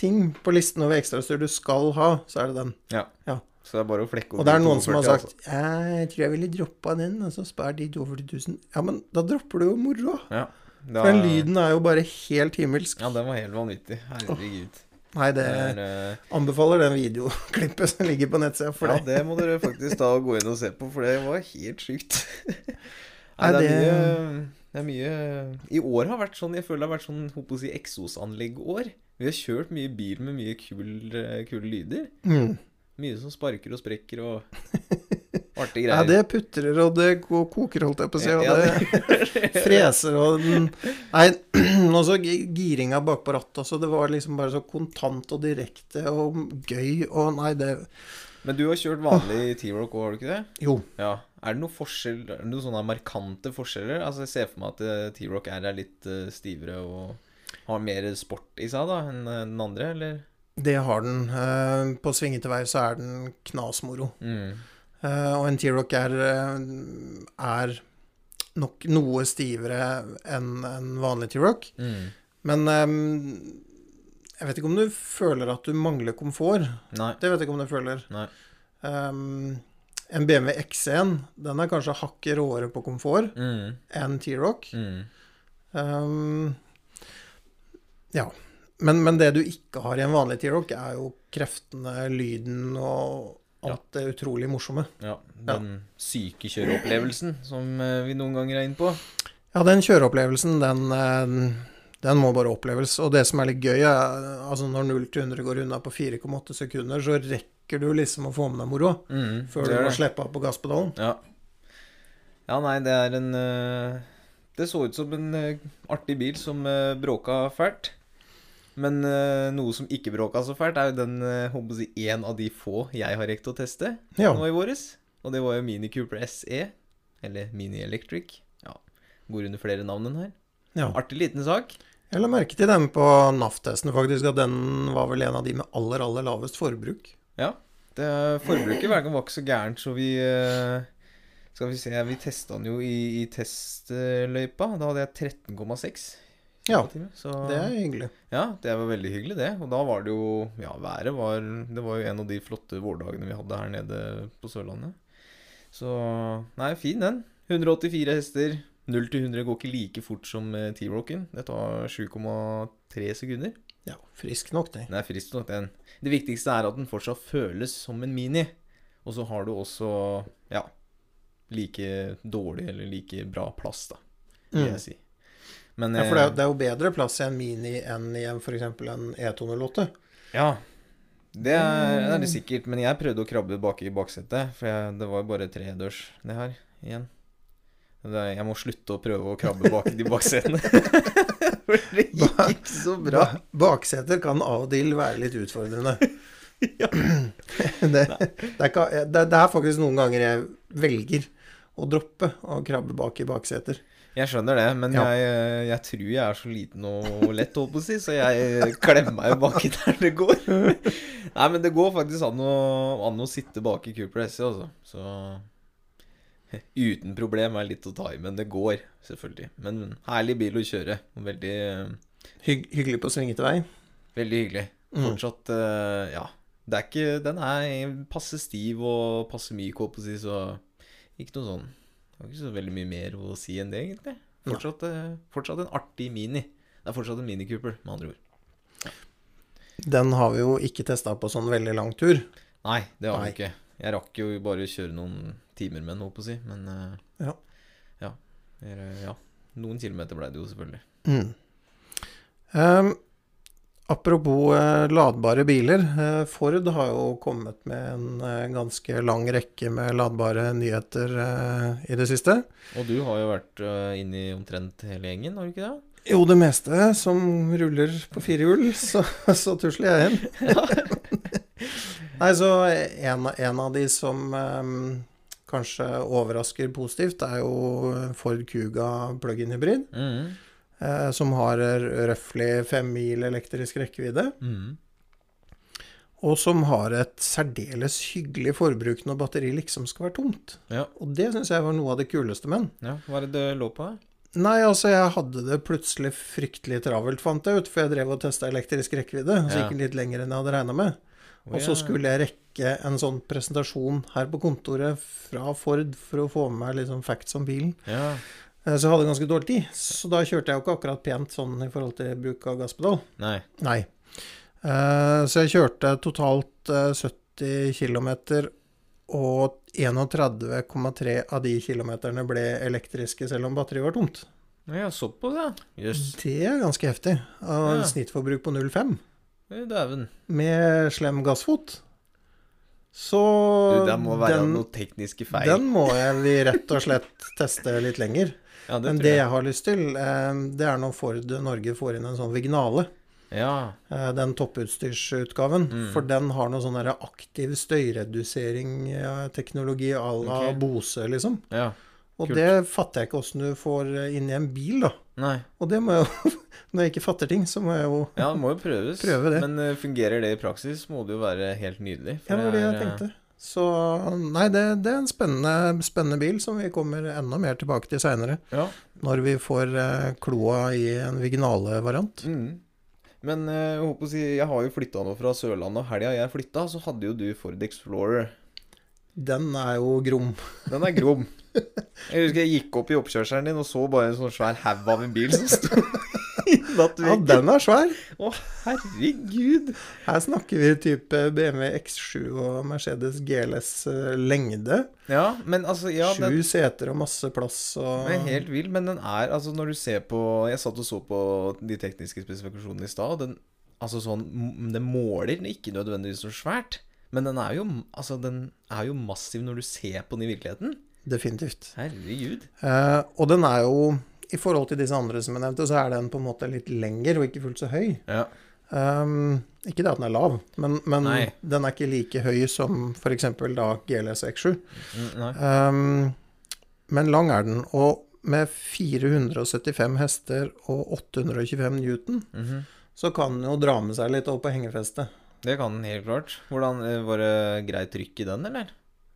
Speaker 1: ting på listen over ekstrautstyr du skal ha, så er det den.
Speaker 2: Ja.
Speaker 1: Ja.
Speaker 2: Så det er bare å flekke opp
Speaker 1: Og det er
Speaker 2: de
Speaker 1: noen som har
Speaker 2: 42 000,
Speaker 1: sagt 'Jeg tror jeg ville droppa den, og så spar de 42 000'. Ja, men da dropper du jo moroa.
Speaker 2: altså.
Speaker 1: For den lyden er jo bare helt himmelsk.
Speaker 2: Ja, den var helt vanvittig. Herregud.
Speaker 1: Nei,
Speaker 2: Det
Speaker 1: det
Speaker 2: er, eh,
Speaker 1: anbefaler den videoklippet som ligger på nettsida for
Speaker 2: ja,
Speaker 1: deg.
Speaker 2: det må dere faktisk da gå inn og se på, for det var helt sjukt. Nei,
Speaker 1: Nei,
Speaker 2: det er mye
Speaker 1: det-
Speaker 2: Det er mye I år har vært sånn Jeg føler det har vært sånn holdt på å si eksosanlegg-år. Vi har kjørt mye bil med mye kul, eh, kule lyder.
Speaker 1: Mm.
Speaker 2: Mye som sparker og sprekker og artige
Speaker 1: Ja,
Speaker 2: greier.
Speaker 1: det putrer og det ko- koker, holdt jeg på å si. Og
Speaker 2: Ja,
Speaker 1: det freser og den Nei, og så gi- giringa bakpå rattet også. Det var liksom bare så kontant og direkte og gøy og Nei, det
Speaker 2: Men du har kjørt vanlig T-Rock òg, har du ikke det?
Speaker 1: Jo.
Speaker 2: Ja. Er det noen forskjell, er det noen sånne markante forskjeller? Altså Jeg ser for meg at eh, T-Rock R er litt eh, stivere og har mer sport i seg da enn eh, den andre, eller?
Speaker 1: Det har den. Eh, På svingete vei så er den knasmoro.
Speaker 2: Mm.
Speaker 1: Eh, Og en T-Rock er, eh, er nok noe stivere enn en vanlig T-Rock.
Speaker 2: Mm.
Speaker 1: Men eh, jeg vet ikke om du føler at du mangler komfort.
Speaker 2: Nei.
Speaker 1: Det vet jeg ikke om du føler.
Speaker 2: Nei.
Speaker 1: Ehm, en BMW X1, den er kanskje hakket råere på komfort
Speaker 2: Mm.
Speaker 1: enn T-Rock.
Speaker 2: Mm.
Speaker 1: Ehm, ja. Men, men det du ikke har i en vanlig T-Rock, er jo kreftene, lyden og alt det utrolig morsomme.
Speaker 2: Ja. Den syke kjøreopplevelsen som eh, vi noen ganger er inne på.
Speaker 1: Ja, den kjøreopplevelsen, den, eh, den må bare oppleves. Og det som er litt gøy, er altså når 0 til 100 går unna på 4,8 sekunder, så rekker du liksom å få med deg moroa
Speaker 2: Mm.
Speaker 1: før du
Speaker 2: det er
Speaker 1: må
Speaker 2: det.
Speaker 1: slippe av på gasspedalen.
Speaker 2: Ja. ja, nei, det er en eh, Det så ut som en eh, artig bil som eh, bråka fælt. Men eh, noe som ikke bråka så fælt, er jo den eh, håper å si, en av de få jeg har rekt å teste
Speaker 1: Ja.
Speaker 2: nå i våres. Og det var jo Mini Cooper SE, eller Mini Electric. Ja, Går under flere navn enn her.
Speaker 1: ja.
Speaker 2: Artig liten sak.
Speaker 1: Jeg la merke til den på NAF-testen faktisk, at den var vel en av de med aller, aller lavest forbruk.
Speaker 2: Ja. Det forbruket hver gang var ikke så gærent, så vi eh, Skal vi se, vi testa den jo i, i testløypa. Da hadde jeg 13,6.
Speaker 1: Ja,
Speaker 2: kilowattime, Så,
Speaker 1: det er hyggelig.
Speaker 2: ja, det var veldig hyggelig, det. Og da var det jo Ja, været var Det var jo en av de flotte vårdagene vi hadde her nede på Sørlandet. Så Nei, fin den. 184 hester. 0 til 100 går ikke like fort som eh, T-Rocken. Det tar 7,3 sekunder.
Speaker 1: Ja, frisk nok, det.
Speaker 2: Den er frisk nok, den. Det viktigste er at den fortsatt føles som en mini. Og så har du også ja, like dårlig eller like bra plass, da, vil
Speaker 1: Mm.
Speaker 2: jeg si. Men
Speaker 1: Ja, for det er,
Speaker 2: eh,
Speaker 1: det er jo bedre plass i en Mini enn i en f.eks. en E208.
Speaker 2: Ja. Det er, det er det sikkert. Men jeg prøvde å krabbe bak i baksetet, for jeg, det var jo bare tredørs, det her, igjen. Det er, jeg må slutte å prøve å krabbe bak i de baksetene. For det gikk ikke så bra.
Speaker 1: Ba- Bakseter kan av og til være litt utfordrende.
Speaker 2: Ja.
Speaker 1: det, det, er ikke, det, det er faktisk noen ganger jeg velger å droppe å krabbe bak i bakseter.
Speaker 2: Jeg skjønner det, men
Speaker 1: Ja.
Speaker 2: jeg, eh, jeg tror jeg er så liten og lett, holdt på å si, så jeg eh, klemmer meg jo baki der det går. Nei, men det går faktisk an å, an å sitte bak i Cooper SE, altså. Så uten problem er litt å ta i, men det går, selvfølgelig. Men herlig bil å kjøre. og Veldig, eh,
Speaker 1: Hygg, hyggelig på svingete vei.
Speaker 2: veldig hyggelig.
Speaker 1: Mm.
Speaker 2: Fortsatt, eh, ja. Det er ikke, den er passe stiv og passe myk, holdt på å si, så ikke noe sånn. Det er ikke så veldig mye mer å si enn det, egentlig. Fortsatt, eh, fortsatt en artig mini. Det er fortsatt en Mini Cooper, med andre ord.
Speaker 1: Den har vi jo ikke testa på sånn veldig lang tur.
Speaker 2: Nei, det har
Speaker 1: Nei.
Speaker 2: vi ikke. Jeg rakk jo bare å kjøre noen timer med den, holdt på å si, men eh,
Speaker 1: Ja.
Speaker 2: Ja. Eller, ja. Noen kilometer ble det jo, selvfølgelig.
Speaker 1: Mm. Ehm, apropos eh, ladbare biler. eh, Ford har jo kommet med en eh, ganske lang rekke med ladbare nyheter eh, i det siste.
Speaker 2: Og du har jo vært eh, inne i omtrent hele gjengen, har du ikke det?
Speaker 1: Jo, det meste som ruller på fire hjul, så, så tusler jeg inn. Nei, så en, en av de som eh, kanskje overrasker positivt, er jo Ford Kuga plug-in hybrid.
Speaker 2: Mhm.
Speaker 1: Eh, som har røftlig fem mil elektrisk rekkevidde.
Speaker 2: Mhm.
Speaker 1: Og som har et særdeles hyggelig forbruk når batteriet liksom skal være tomt.
Speaker 2: Ja.
Speaker 1: Og det syns jeg var noe av det kuleste med den.
Speaker 2: ja. Hva er det det lå på?
Speaker 1: Nei, altså, jeg hadde det plutselig fryktelig travelt, fant jeg ut, for jeg drev og testa elektrisk rekkevidde, så
Speaker 2: Ja.
Speaker 1: gikk den litt lenger enn jeg hadde regna med.
Speaker 2: Å,
Speaker 1: Og så
Speaker 2: ja.
Speaker 1: skulle jeg rekke en sånn presentasjon her på kontoret fra Ford for å få med meg liksom facts om bilen.
Speaker 2: Ja.
Speaker 1: Eh, Så jeg hadde ganske dårlig tid, så da kjørte jeg jo ikke akkurat pent sånn i forhold til bruk av gasspedal.
Speaker 2: Nei.
Speaker 1: Nei. Eh, Så jeg kjørte totalt eh, 70 km, og 31,3 av de kilometerne ble elektriske selv om batteriet var tomt.
Speaker 2: Ja, såpass, ja. Jøss.
Speaker 1: Det er ganske heftig. Og
Speaker 2: Ja.
Speaker 1: Snittforbruk på 0,5
Speaker 2: Yes. Dæven.
Speaker 1: med slem gassfot. Så
Speaker 2: Du, det må være
Speaker 1: den,
Speaker 2: noen tekniske feil.
Speaker 1: den må jeg vi rett og slett teste litt lenger.
Speaker 2: ja, det
Speaker 1: Men
Speaker 2: tror
Speaker 1: det
Speaker 2: jeg.
Speaker 1: jeg har lyst til, eh, det er når Ford Norge får inn en sånn Vignale.
Speaker 2: Ja.
Speaker 1: eh, Den topputstyrsutgaven.
Speaker 2: Mm.
Speaker 1: For den har noe sånn der aktiv støyredusering-teknologi à la
Speaker 2: Ok.
Speaker 1: Bose, liksom.
Speaker 2: Ja.
Speaker 1: Og
Speaker 2: Kult.
Speaker 1: det fatter jeg ikke åssen du får eh, inn i en bil, da.
Speaker 2: Nei.
Speaker 1: Og det må jeg jo Når jeg ikke fatter ting, så må jeg jo
Speaker 2: Ja, det må jo prøves.
Speaker 1: Prøve det.
Speaker 2: Men eh, fungerer det i praksis, må det jo være helt nydelig. for
Speaker 1: Ja, det var det jeg
Speaker 2: er, eh,
Speaker 1: tenkte. Så nei, det, det er en spennende, spennende bil som vi kommer enda mer tilbake til seinere.
Speaker 2: eh, Ja.
Speaker 1: Når vi får eh, kloa i en vignale variant.
Speaker 2: Mm. Men eh, jeg håper å si, jeg har jo flytta nå fra Sørlandet, og helga jeg flytta, så hadde jo du Ford Explorer.
Speaker 1: Den er jo grom.
Speaker 2: Den er grom. Jeg husker jeg gikk opp i oppkjørselen din og så bare en sånn svær haug av en bil som sto i
Speaker 1: Ja,
Speaker 2: nattvinkel.
Speaker 1: den er svær.
Speaker 2: Å, herregud.
Speaker 1: Her snakker vi type BMW X7 og Mercedes GLS eh, lengde.
Speaker 2: Ja, men altså ja, den,
Speaker 1: Sju seter og masse plass og
Speaker 2: den er helt vill. Men den er altså Når du ser på Jeg satt og så på de tekniske spesifikasjonene i stad, og den Altså sånn m- Den måler ikke nødvendigvis så svært, men den er jo Altså, den er jo massiv når du ser på den i virkeligheten.
Speaker 1: Definitivt.
Speaker 2: Herregud.
Speaker 1: Eh, og den er jo I forhold til disse andre som jeg nevnte, så er den på en måte litt lengre og ikke fullt så høy.
Speaker 2: Ja.
Speaker 1: Ehm, ikke det at den er lav, men, men
Speaker 2: Nei.
Speaker 1: den er ikke like høy som f.eks. da GLS X7.
Speaker 2: Mm, Nei.
Speaker 1: Ehm, men lang er den, og med 475 hester og 825 newton,
Speaker 2: Mhm.
Speaker 1: så kan den jo dra med seg litt opp på hengefestet.
Speaker 2: Det kan den helt klart. Hvordan eh, Var det greit trykk i den, eller?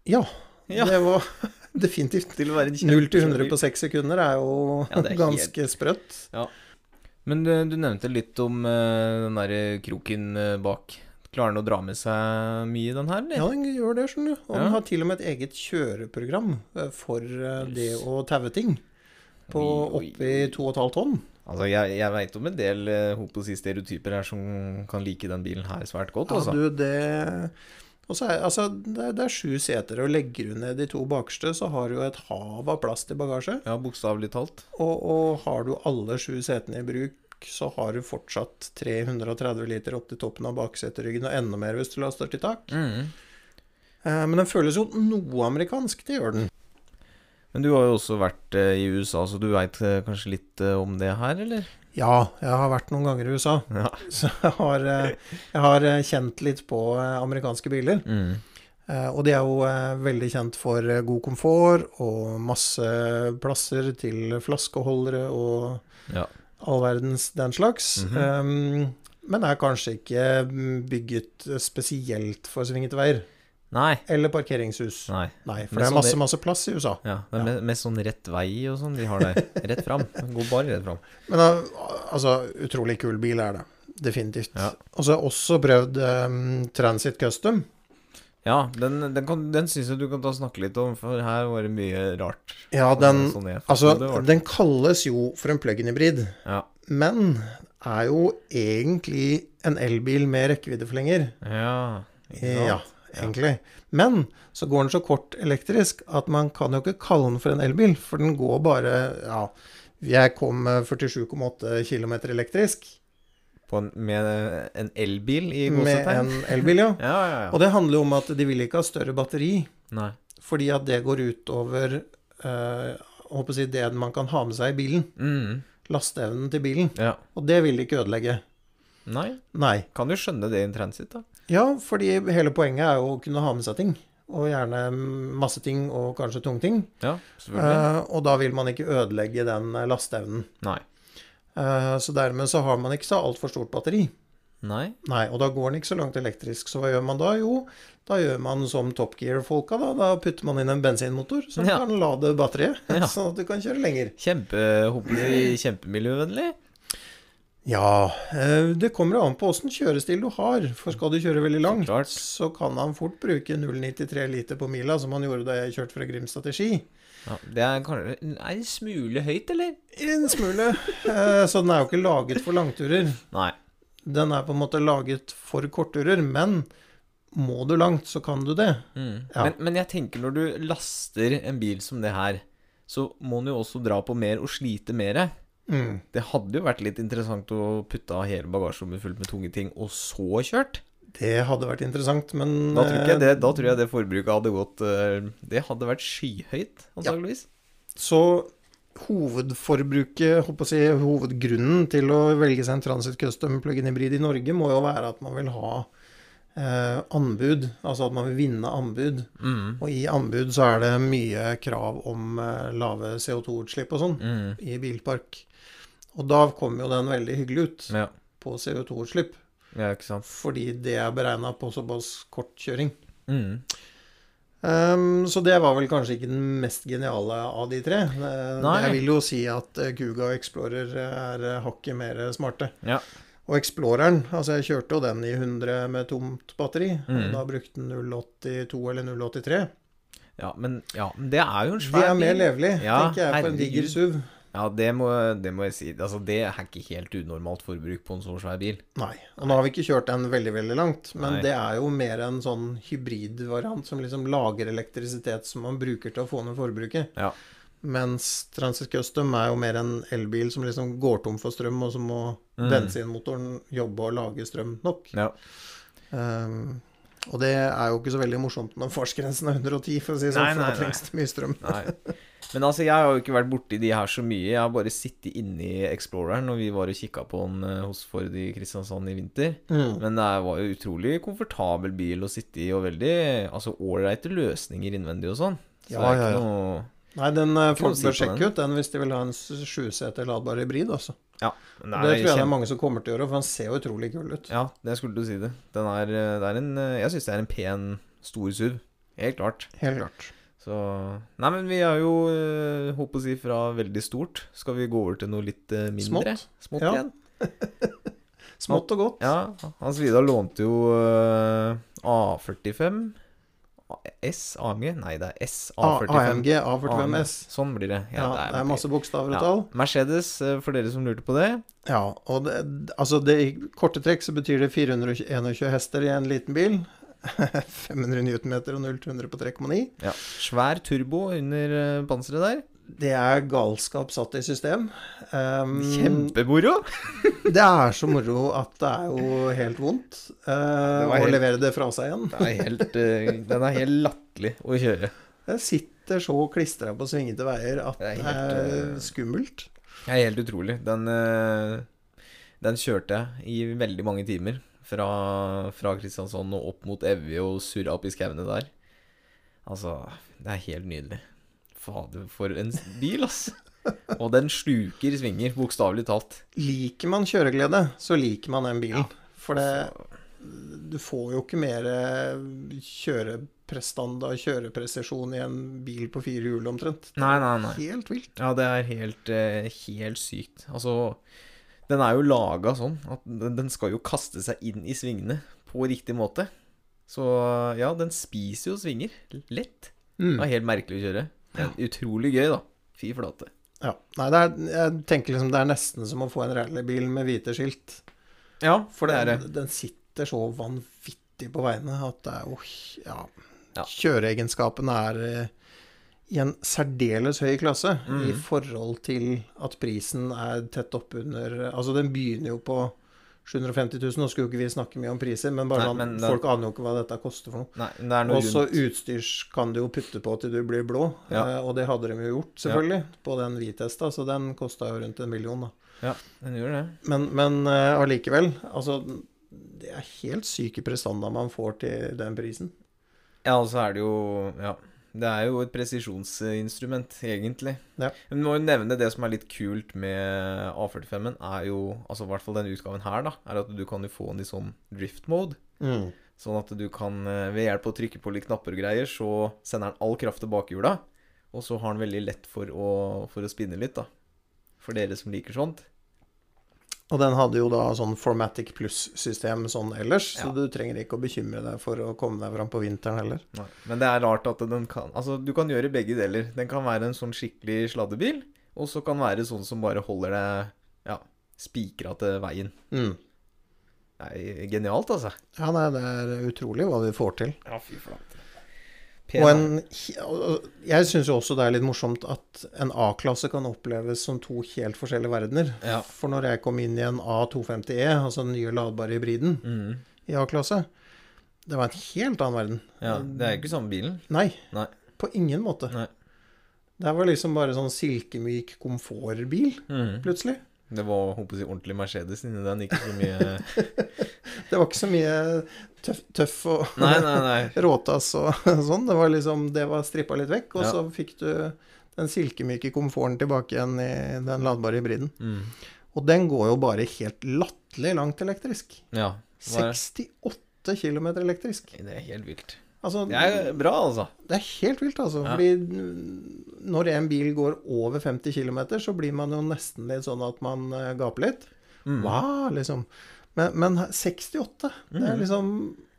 Speaker 1: Ja,
Speaker 2: Ja.
Speaker 1: det var definitivt.
Speaker 2: Til å være en
Speaker 1: 0 til
Speaker 2: kjempe-
Speaker 1: 100 på 6 sekunder er jo
Speaker 2: Ja, det er helt-
Speaker 1: ganske sprøtt.
Speaker 2: Men eh, du, du nevnte litt om eh, den derre kroken eh, bak. Klarer den å dra med seg mye, den her, eller?
Speaker 1: Ja, den gjør det, skjønner du. Og
Speaker 2: Ja.
Speaker 1: den har til og med et eget kjøreprogram eh, for eh, det
Speaker 2: Yes.
Speaker 1: å taue ting. På
Speaker 2: Oi, oi,
Speaker 1: oppi
Speaker 2: oi.
Speaker 1: 2,5 tonn.
Speaker 2: Altså, jeg, jeg veit om en del eh, holdt på å si stereotyper her som kan like den bilen her svært godt,
Speaker 1: Ja,
Speaker 2: altså.
Speaker 1: du, det og så er, altså, det, det er sju seter, og legger du ned de to bakerste, så har du jo et hav av plass til bagasje.
Speaker 2: Ja, bokstavelig talt.
Speaker 1: Og, og har du alle sju setene i bruk, så har du fortsatt 330 liter opp til toppen av bakseteryggen, og enda mer hvis du laster til tak.
Speaker 2: Mm.
Speaker 1: Eh, men den føles jo noe amerikansk, det gjør den.
Speaker 2: Men du har jo også vært eh, i USA, så du veit kanskje litt eh, om det her, eller?
Speaker 1: Ja, jeg har vært noen ganger i USA,
Speaker 2: Ja.
Speaker 1: så jeg har, eh, jeg har eh, kjent litt på eh, amerikanske biler.
Speaker 2: Mm.
Speaker 1: Eh, Og de er jo eh, veldig kjent for eh, god komfort og masse plasser til flaskeholdere og
Speaker 2: Ja.
Speaker 1: all verdens den slags.
Speaker 2: Mhm.
Speaker 1: Eh, Men er kanskje ikke mm, bygget spesielt for svingete veier.
Speaker 2: Nei.
Speaker 1: Eller parkeringshus.
Speaker 2: Nei.
Speaker 1: Nei, for
Speaker 2: Men
Speaker 1: det er
Speaker 2: sånn
Speaker 1: masse,
Speaker 2: det-
Speaker 1: masse plass i USA.
Speaker 2: Ja, det er me- mest sånn rett vei og sånn de har der. Rett fram. Går bare rett fram.
Speaker 1: Men eh, altså, utrolig kul bil er det. Definitivt.
Speaker 2: Ja.
Speaker 1: Og så har jeg også prøvd eh, Transit Custom.
Speaker 2: Ja, den, den, kan- den syns jeg du kan ta og snakke litt om, for her var det mye rart.
Speaker 1: Ja, den
Speaker 2: Sånn jeg
Speaker 1: Altså,
Speaker 2: forstod det var det.
Speaker 1: den kalles jo for en plug-in hybrid.
Speaker 2: Ja.
Speaker 1: Men er jo egentlig en elbil med rekkeviddeforlenger.
Speaker 2: Ja. ikke sant?
Speaker 1: Ja, egentlig. Men så går den så kort elektrisk at man kan jo ikke kalle den for en elbil, for den går bare Ja, jeg kom med 47,8 km elektrisk
Speaker 2: På en, med en elbil i
Speaker 1: med
Speaker 2: gåsetegn?
Speaker 1: en elbil, ja.
Speaker 2: Ja, ja, ja.
Speaker 1: Og det handler jo om at de vil ikke ha større batteri,
Speaker 2: Nei.
Speaker 1: fordi at det går utover eh, håper jeg å si, det man kan ha med seg i bilen.
Speaker 2: Mm.
Speaker 1: Lasteevnen til bilen.
Speaker 2: Ja.
Speaker 1: Og det vil de ikke ødelegge.
Speaker 2: Nei.
Speaker 1: Nei.
Speaker 2: Kan jo skjønne det i en transit, da.
Speaker 1: Ja, fordi hele poenget er jo å kunne ha med seg ting. og gjerne masse ting og kanskje tungting.
Speaker 2: Ja, selvfølgelig.
Speaker 1: Uh, og da vil man ikke ødelegge den eh, lasteevnen.
Speaker 2: Nei.
Speaker 1: Eh, så dermed så har man ikke så altfor stort batteri.
Speaker 2: Nei?
Speaker 1: Nei, og da går den ikke så langt elektrisk. Så hva gjør man da? Jo, da gjør man som Top Gear-folka, da. Da putter man inn en bensinmotor som
Speaker 2: Ja.
Speaker 1: kan lade batteriet,
Speaker 2: Ja.
Speaker 1: sånn at du kan kjøre lenger.
Speaker 2: Kjempe, håper vi kjempemiljøvennlig.
Speaker 1: Ja, eh, det kommer jo an på åssen kjørestil du har. For skal du kjøre veldig langt,
Speaker 2: klart.
Speaker 1: så kan han fort bruke 0,93 liter på mila, som han gjorde da jeg kjørte fra Grimstad til Ski.
Speaker 2: Ja, det er kanskje Er det smule høyt, eller?
Speaker 1: En smule. Eh, Så den er jo ikke laget for langturer.
Speaker 2: Nei.
Speaker 1: Den er på en måte laget for kortturer, men må du langt, så kan du det. Ja.
Speaker 2: Mm. Men, men jeg tenker når du laster en bil som det her, så må den jo også dra på mer og slite mer.
Speaker 1: Mm.
Speaker 2: Det hadde jo vært litt interessant å putte av hele bagasjerommet fullt med tunge ting, og så kjørt.
Speaker 1: Det hadde vært interessant, men
Speaker 2: Da tror, ikke jeg
Speaker 1: eh,
Speaker 2: det, da tror jeg det forbruket hadde gått eh, Det hadde vært skyhøyt, antageligvis.
Speaker 1: Så hovedforbruket, håper jeg, å si, hovedgrunnen til å velge seg en Transit Custom plug-in hybrid i Norge, må jo være at man vil ha eh, anbud, altså at man vil vinne anbud.
Speaker 2: Mm.
Speaker 1: Og i anbud så er det mye krav om eh, lave CO2-utslipp og sånn
Speaker 2: Mm.
Speaker 1: i bilpark. Og da kommer jo den veldig hyggelig ut
Speaker 2: Ja.
Speaker 1: på CO2-utslipp,
Speaker 2: ja, ikke sant.
Speaker 1: fordi det er beregna på såpass kort kjøring.
Speaker 2: Mm.
Speaker 1: Ehm, så det var vel kanskje ikke den mest geniale av de tre. Eh,
Speaker 2: Nei.
Speaker 1: Jeg vil jo si at eh, Kuga og Explorer er eh, hakket mer smarte.
Speaker 2: Ja.
Speaker 1: Og Exploreren, altså jeg kjørte jo den i 100 med tomt batteri.
Speaker 2: Mm.
Speaker 1: og Da brukte den 082 eller 083.
Speaker 2: ja, men ja, men det er jo en
Speaker 1: Det
Speaker 2: svær
Speaker 1: er mer
Speaker 2: bil.
Speaker 1: levelig,
Speaker 2: Ja,
Speaker 1: tenker jeg, for en diger
Speaker 2: herregud.
Speaker 1: SUV.
Speaker 2: Ja, det må, det må jeg si. Altså, det er ikke helt unormalt forbruk på en så svær bil.
Speaker 1: Nei. Og nå har vi ikke kjørt den veldig, veldig langt, men
Speaker 2: Nei.
Speaker 1: det er jo mer en sånn hybridvariant som liksom lager elektrisitet som man bruker til å få ned forbruket.
Speaker 2: Ja.
Speaker 1: Mens Transit Custom er jo mer en elbil som liksom går tom for strøm, og så må
Speaker 2: Mm.
Speaker 1: bensinmotoren jobbe og lage strøm nok.
Speaker 2: Ja.
Speaker 1: Ehm, og det er jo ikke så veldig morsomt når fartsgrensen er 110, for å si det
Speaker 2: Nei,
Speaker 1: sånn, for
Speaker 2: nei,
Speaker 1: da trengs det mye strøm.
Speaker 2: Nei. Men altså, jeg har jo ikke vært borti de her så mye. Jeg har bare sittet inni Exploreren når vi var og kikka på den eh, hos Ford i Kristiansand i vinter.
Speaker 1: Mm.
Speaker 2: Men det var jo utrolig komfortabel bil å sitte i, og veldig altså ålreite løsninger innvendig og sånn. Så
Speaker 1: Ja,
Speaker 2: det er
Speaker 1: ja, ja.
Speaker 2: ikke noe
Speaker 1: Nei, den eh,
Speaker 2: Ikke noe å
Speaker 1: folk
Speaker 2: si
Speaker 1: bør
Speaker 2: på
Speaker 1: sjekke
Speaker 2: den.
Speaker 1: ut den hvis de vil ha en s- sjuseter ladbar hybrid, altså.
Speaker 2: Ja,
Speaker 1: Og
Speaker 2: men
Speaker 1: det tror jeg det
Speaker 2: kjempe-
Speaker 1: er mange som kommer til å gjøre, for den ser jo utrolig kul ut.
Speaker 2: Ja, det skulle du si det. Den er, eh, det er en, eh, jeg syns det er en pen, stor SUV. Helt klart.
Speaker 1: Helt klart.
Speaker 2: Så Nei, men vi er jo, eh, holdt på å si, fra veldig stort. Skal vi gå over til noe litt eh, mindre?
Speaker 1: Smått.
Speaker 2: Smått
Speaker 1: Ja.
Speaker 2: igjen?
Speaker 1: Smått og godt.
Speaker 2: Ja, Hans Vidar lånte jo eh, A45 S AMG? Nei, det er S
Speaker 1: A-
Speaker 2: A45.
Speaker 1: AMG A45S.
Speaker 2: Sånn blir det.
Speaker 1: Ja, det er masse bokstaver og
Speaker 2: Ja.
Speaker 1: tall.
Speaker 2: Mercedes, eh, for dere som lurte på det.
Speaker 1: Ja, og det, altså det, i korte trekk så betyr det 421 hester i en liten bil. 500 newtonmeter og 0 til 100 på 3,9.
Speaker 2: Ja. Svær turbo under eh, panseret der.
Speaker 1: Det er galskap satt i system. Um,
Speaker 2: Kjempemoro!
Speaker 1: det er så moro at det er jo helt vondt eh,
Speaker 2: Det
Speaker 1: å
Speaker 2: var helt-
Speaker 1: levere det fra seg igjen.
Speaker 2: Det er helt, eh, den er helt latterlig å kjøre.
Speaker 1: Det sitter så klistra på svingete veier at det
Speaker 2: Det er
Speaker 1: er,
Speaker 2: helt, eh,
Speaker 1: skummelt.
Speaker 2: Det er helt utrolig. Den, eh, den kjørte jeg i veldig mange timer. Fra, fra Kristiansand og opp mot Evje og surra opp i skauene der. Altså, det er helt nydelig. Fader, for en bil, ass. Og den sluker svinger, bokstavelig talt.
Speaker 1: Liker man kjøreglede, så liker man den bilen. For det, du får jo ikke mer eh, kjøreprestanda og kjørepresisjon i en bil på fire hjul omtrent.
Speaker 2: Nei, nei, nei.
Speaker 1: Helt vilt.
Speaker 2: Ja, det er helt, eh, helt sykt. Altså, den er jo laga sånn at den den skal jo kaste seg inn i svingene på riktig måte. Så ja, den spiser jo svinger. Lett. Det er helt merkelig å kjøre. Men utrolig gøy, da. Fy flate.
Speaker 1: Ja. Nei, det er, jeg tenker liksom det er nesten som å få en rallybil med hvite skilt.
Speaker 2: Ja,
Speaker 1: For
Speaker 2: det er det.
Speaker 1: den, den sitter så vanvittig på veiene at det er jo Ja.
Speaker 2: Ja.
Speaker 1: Kjøreegenskapene er eh, i en særdeles høy klasse i
Speaker 2: Mm.
Speaker 1: forhold til at prisen er tett oppunder Altså, den begynner jo på 750 000, nå skulle jo ikke vi snakke mye om priser, men bare
Speaker 2: Nei,
Speaker 1: sånn,
Speaker 2: men det-
Speaker 1: folk aner jo ikke hva dette koster for noe.
Speaker 2: Nei, men det er noe
Speaker 1: Og så
Speaker 2: rundt.
Speaker 1: utstyrs kan du jo putte på til du blir blå,
Speaker 2: Ja.
Speaker 1: eh, og det hadde de jo gjort, selvfølgelig, på den hvitesta, så den kosta jo rundt en million, da.
Speaker 2: Ja, den gjør det.
Speaker 1: Men, men eh, allikevel, altså Det er helt syke prestanda man får til den prisen.
Speaker 2: Ja, altså er det jo Ja. Det er jo et presisjonsinstrument, egentlig.
Speaker 1: Ja.
Speaker 2: Men vi må jo nevne det som er litt kult med A45-en, er jo Altså i hvert fall denne utgaven her, da, er at du kan jo få den i sånn drift mode.
Speaker 1: Mm.
Speaker 2: Sånn at du kan, eh, ved hjelp av å trykke på litt knapper og greier, så sender den all kraft til bakhjula. Og så har den veldig lett for å, for å spinne litt, da. For dere som liker sånt.
Speaker 1: Og den hadde jo da sånn Formatic Plus-system sånn ellers,
Speaker 2: Ja.
Speaker 1: så du trenger ikke å bekymre deg for å komme deg fram på vinteren heller.
Speaker 2: Men det er rart at den kan Altså, du kan gjøre begge deler. Den kan være en sånn skikkelig sladdebil, og så kan den være sånn som bare holder deg ja, spikra til veien.
Speaker 1: Mm.
Speaker 2: Det er genialt, altså.
Speaker 1: Ja, nei, det er utrolig hva de får til.
Speaker 2: Ja, fy flate.
Speaker 1: Og en, og jeg syns jo også det er litt morsomt at en A-klasse kan oppleves som to helt forskjellige verdener.
Speaker 2: Ja.
Speaker 1: For når jeg kom inn i en A250E, altså den nye ladbare hybriden
Speaker 2: Mm.
Speaker 1: i A-klasse, det var en helt annen verden.
Speaker 2: Ja, det er jo ikke samme bilen.
Speaker 1: Nei.
Speaker 2: Nei.
Speaker 1: På ingen måte.
Speaker 2: Nei.
Speaker 1: Det var liksom bare sånn silkemyk komfortbil,
Speaker 2: Mm.
Speaker 1: plutselig.
Speaker 2: Det var håper jeg, å si, ordentlig Mercedes inni den, ikke så mye
Speaker 1: Det var ikke så mye tøff, tøff og
Speaker 2: Nei, nei, nei.
Speaker 1: råtass og sånn. Det var liksom Det var strippa litt vekk, og
Speaker 2: Ja.
Speaker 1: så fikk du den silkemyke komforten tilbake igjen i den ladbare hybriden.
Speaker 2: Mm.
Speaker 1: Og den går jo bare helt latterlig langt elektrisk.
Speaker 2: Ja. Hva er-
Speaker 1: 68 km elektrisk.
Speaker 2: Det er helt vilt.
Speaker 1: Altså,
Speaker 2: Det er bra, altså.
Speaker 1: det er helt vilt, altså.
Speaker 2: Ja.
Speaker 1: Fordi når en bil går over 50 km, så blir man jo nesten litt sånn at man eh, gaper litt.
Speaker 2: Mm.
Speaker 1: Hva, liksom? Men, men 68, det
Speaker 2: Mm.
Speaker 1: er liksom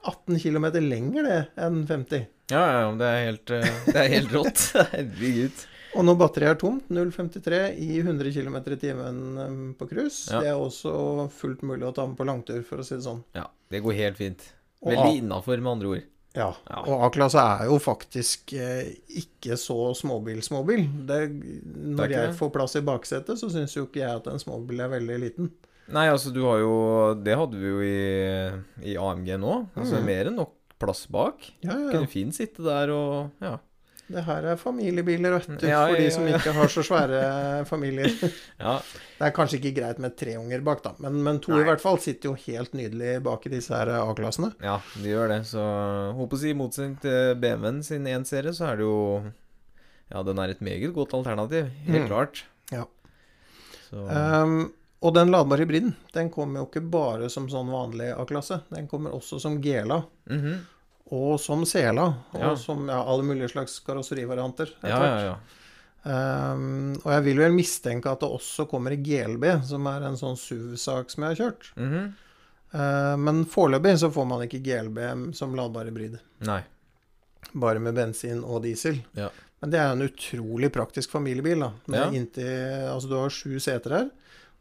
Speaker 1: 18 km lenger det enn 50.
Speaker 2: Ja, ja, ja, det er helt, eh, det er helt rått. Herregud.
Speaker 1: Og når batteriet er tomt, 0,53 i 100 km i timen eh, på cruise,
Speaker 2: Ja.
Speaker 1: det er også fullt mulig å ta med på langtur, for å si det sånn.
Speaker 2: Ja, det går helt fint.
Speaker 1: Og
Speaker 2: Veldig innafor, med andre ord.
Speaker 1: Ja.
Speaker 2: Ja.
Speaker 1: Og A-klasse er jo faktisk eh, ikke så småbil-småbil. Det-
Speaker 2: Det er
Speaker 1: Når
Speaker 2: ikke
Speaker 1: jeg
Speaker 2: det.
Speaker 1: får plass i baksetet, så syns jo ikke jeg at en småbil er veldig liten.
Speaker 2: Nei, altså, du har jo Det hadde vi jo i, i AMG nå. Altså,
Speaker 1: Mm.
Speaker 2: Mer enn nok plass bak.
Speaker 1: Ja, ja.
Speaker 2: Kunne fint sitte der og Ja.
Speaker 1: Det her er familiebiler, vet du,
Speaker 2: Ja,
Speaker 1: for
Speaker 2: ja,
Speaker 1: de
Speaker 2: ja,
Speaker 1: som
Speaker 2: ja.
Speaker 1: ikke har så svære familier.
Speaker 2: ja.
Speaker 1: Det er kanskje ikke greit med tre unger bak, da, men, men to
Speaker 2: Nei.
Speaker 1: i hvert fall sitter jo helt nydelig bak i disse her A-klassene.
Speaker 2: Ja, de gjør det. Så håper å si i motsetning til BMW-en sin 1-serie, så er det jo Ja, den er et meget godt alternativ. Helt
Speaker 1: Mm.
Speaker 2: klart.
Speaker 1: Ja.
Speaker 2: Så
Speaker 1: Ehm, og den ladbare hybriden, den kommer jo ikke bare som sånn vanlig A-klasse. Den kommer også som GLA.
Speaker 2: mhm.
Speaker 1: Og som sela, og
Speaker 2: Ja.
Speaker 1: som ja, alle mulige slags karosserivarianter. etter
Speaker 2: Ja,
Speaker 1: hvert.
Speaker 2: ja, ja.
Speaker 1: Ehm, og jeg vil vel mistenke at det også kommer i GLB, som er en sånn SUV-sak som jeg har kjørt.
Speaker 2: Mhm.
Speaker 1: Ehm, men foreløpig så får man ikke GLB som ladbar hybrid,
Speaker 2: Nei.
Speaker 1: bare med bensin og diesel.
Speaker 2: Ja.
Speaker 1: Men det er en utrolig praktisk familiebil. da. Med
Speaker 2: Ja.
Speaker 1: inntil, altså Du har sju seter her,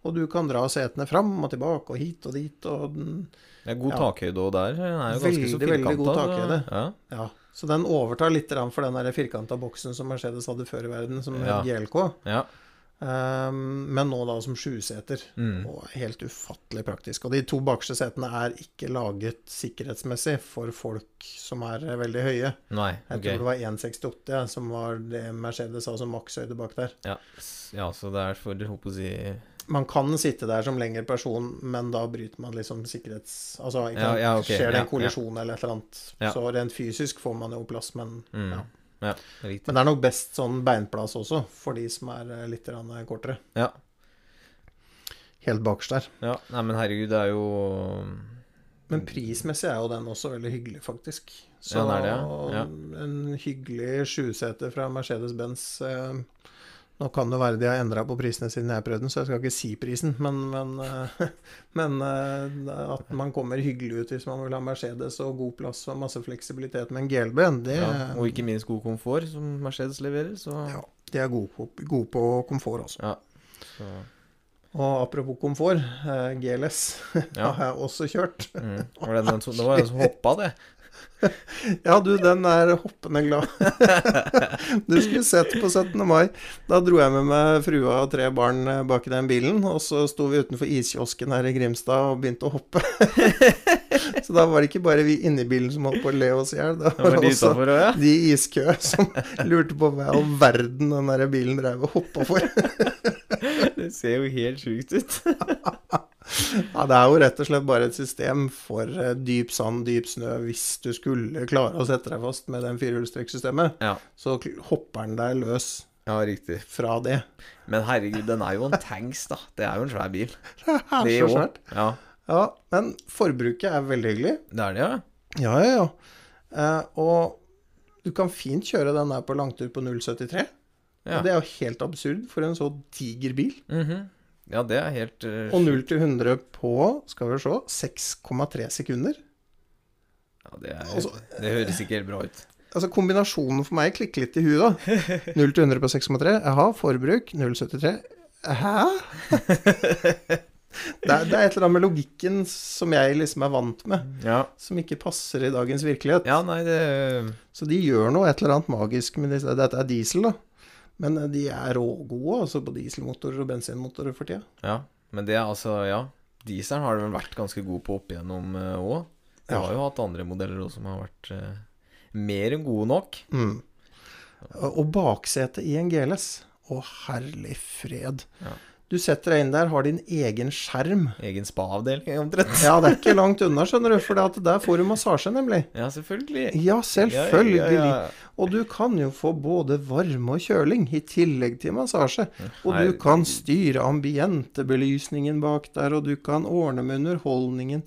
Speaker 1: og du kan dra setene fram og tilbake og hit og dit. og den,
Speaker 2: Det er god
Speaker 1: Ja.
Speaker 2: takhøyde òg der. Den er jo ganske så
Speaker 1: Veldig, veldig god
Speaker 2: firkanta, så-
Speaker 1: takhøyde.
Speaker 2: Ja.
Speaker 1: ja. Så den overtar litt grann for den firkanta boksen som Mercedes hadde før i verden, som
Speaker 2: Ja.
Speaker 1: het GLK.
Speaker 2: ja.
Speaker 1: Ehm, men nå da som sjuseter.
Speaker 2: Mm.
Speaker 1: Og helt ufattelig praktisk. Og de to bakerste setene er ikke laget sikkerhetsmessig for folk som er eh, veldig høye.
Speaker 2: Nei,
Speaker 1: Jeg tror
Speaker 2: ok.
Speaker 1: det var 1,68 ja, som var det Mercedes sa som makshøyde bak der.
Speaker 2: Ja. s- ja, så det er for jeg håper å si
Speaker 1: Man kan sitte der som lengre person, men da bryter man liksom sikkerhets... Altså, ikke
Speaker 2: Ja,
Speaker 1: sant?
Speaker 2: ja, ok,
Speaker 1: skjer det
Speaker 2: ja,
Speaker 1: en kollisjon eller et eller annet.
Speaker 2: Ja.
Speaker 1: Så rent fysisk får man jo plass, men
Speaker 2: mm.
Speaker 1: Ja.
Speaker 2: ja. riktig.
Speaker 1: Men det er nok best sånn beinplass også, for de som er eh, litt grann, eh, kortere.
Speaker 2: Ja.
Speaker 1: Helt bakerst der.
Speaker 2: ja. Nei, men herregud, det er jo
Speaker 1: Men prismessig er jo den også veldig hyggelig, faktisk. Så
Speaker 2: Mm. Ja, den er det, ja.
Speaker 1: en hyggelig sjuseter fra Mercedes-Benz eh, Nå kan det være de har endra på prisene siden jeg prøvde den, så jeg skal ikke si prisen, men, men, eh, men eh, at man kommer hyggelig ut hvis man vil ha Mercedes og god plass og masse fleksibilitet med en GLB, det,
Speaker 2: ja. Og ikke minst god komfort, som Mercedes leverer, så
Speaker 1: ja, de er gode på, gode på komfort også.
Speaker 2: Ja. så.
Speaker 1: Og apropos komfort, eh, GLS
Speaker 2: Ja.
Speaker 1: har jeg også kjørt.
Speaker 2: Mm. Var det, den som, det var den som hoppa, det.
Speaker 1: Ja, du, den er hoppende glad. du skulle sett på 17. mai. Da dro jeg med meg frua og tre barn eh, bak i den bilen, og så sto vi utenfor iskiosken her i Grimstad og begynte å hoppe. så da var det ikke bare vi inni bilen som holdt på å le oss i hjel, da
Speaker 2: Det var
Speaker 1: var det
Speaker 2: de
Speaker 1: også
Speaker 2: utenfor også, ja.
Speaker 1: de i iskø som lurte på hva i all verden den der bilen drev og hoppa for.
Speaker 2: Det ser jo helt sjukt ut.
Speaker 1: Ja, det er jo rett og slett bare et system for eh, dyp sand, dyp snø, hvis du skulle klare å sette deg fast med den firehjulstrekksystemet.
Speaker 2: Ja.
Speaker 1: Så kl- hopper den deg løs
Speaker 2: ja, riktig.
Speaker 1: fra det.
Speaker 2: Men herregud, den er jo en tanks, da. Det er jo en svær bil.
Speaker 1: Det er
Speaker 2: Det
Speaker 1: så
Speaker 2: også.
Speaker 1: svært.
Speaker 2: Ja,
Speaker 1: Ja, men forbruket er veldig hyggelig.
Speaker 2: det er det, ja.
Speaker 1: Ja, ja, ja. Eh, og du kan fint kjøre den der på langtur på 0,73.
Speaker 2: Ja.
Speaker 1: Og Det er jo helt absurd for en så diger bil.
Speaker 2: Mhm. Ja, det er helt eh,
Speaker 1: Og 0 til 100 på, skal vi se, 6,3 sekunder.
Speaker 2: ja, det, er,
Speaker 1: Altså-
Speaker 2: det høres ikke helt bra ut.
Speaker 1: Altså kombinasjonen for meg klikker litt i huet, da. 0 til 100 på 6,3. Jaha, forbruk 0,73. Hæ? Det er, det er et eller annet med logikken som jeg liksom er vant med,
Speaker 2: Ja.
Speaker 1: som ikke passer i dagens virkelighet.
Speaker 2: ja, nei, det
Speaker 1: Så de gjør noe et eller annet magisk med disse. Dette er diesel, da. Men eh, de er rågode altså på dieselmotorer og bensinmotorer for tida.
Speaker 2: Ja. Men det er altså, ja. Dieselen har det vel vært ganske god på opp igjennom òg. Vi
Speaker 1: Ja.
Speaker 2: har jo hatt andre modeller også som har vært eh, mer enn gode nok.
Speaker 1: Mm. Og baksetet i en GLS. Å, herlig fred.
Speaker 2: Ja.
Speaker 1: Du setter deg inn der, har din egen skjerm.
Speaker 2: Egen spa-avdeling, omtrent.
Speaker 1: Ja, det er ikke langt unna, skjønner du, for der får du massasje, nemlig.
Speaker 2: Ja, selvfølgelig.
Speaker 1: Ja, selvfølgelig.
Speaker 2: Ja, ja, ja.
Speaker 1: Og du kan jo få både varme og kjøling, i tillegg til massasje. Og du
Speaker 2: herregud.
Speaker 1: kan styre ambientebelysningen bak der, og du kan ordne med underholdningen.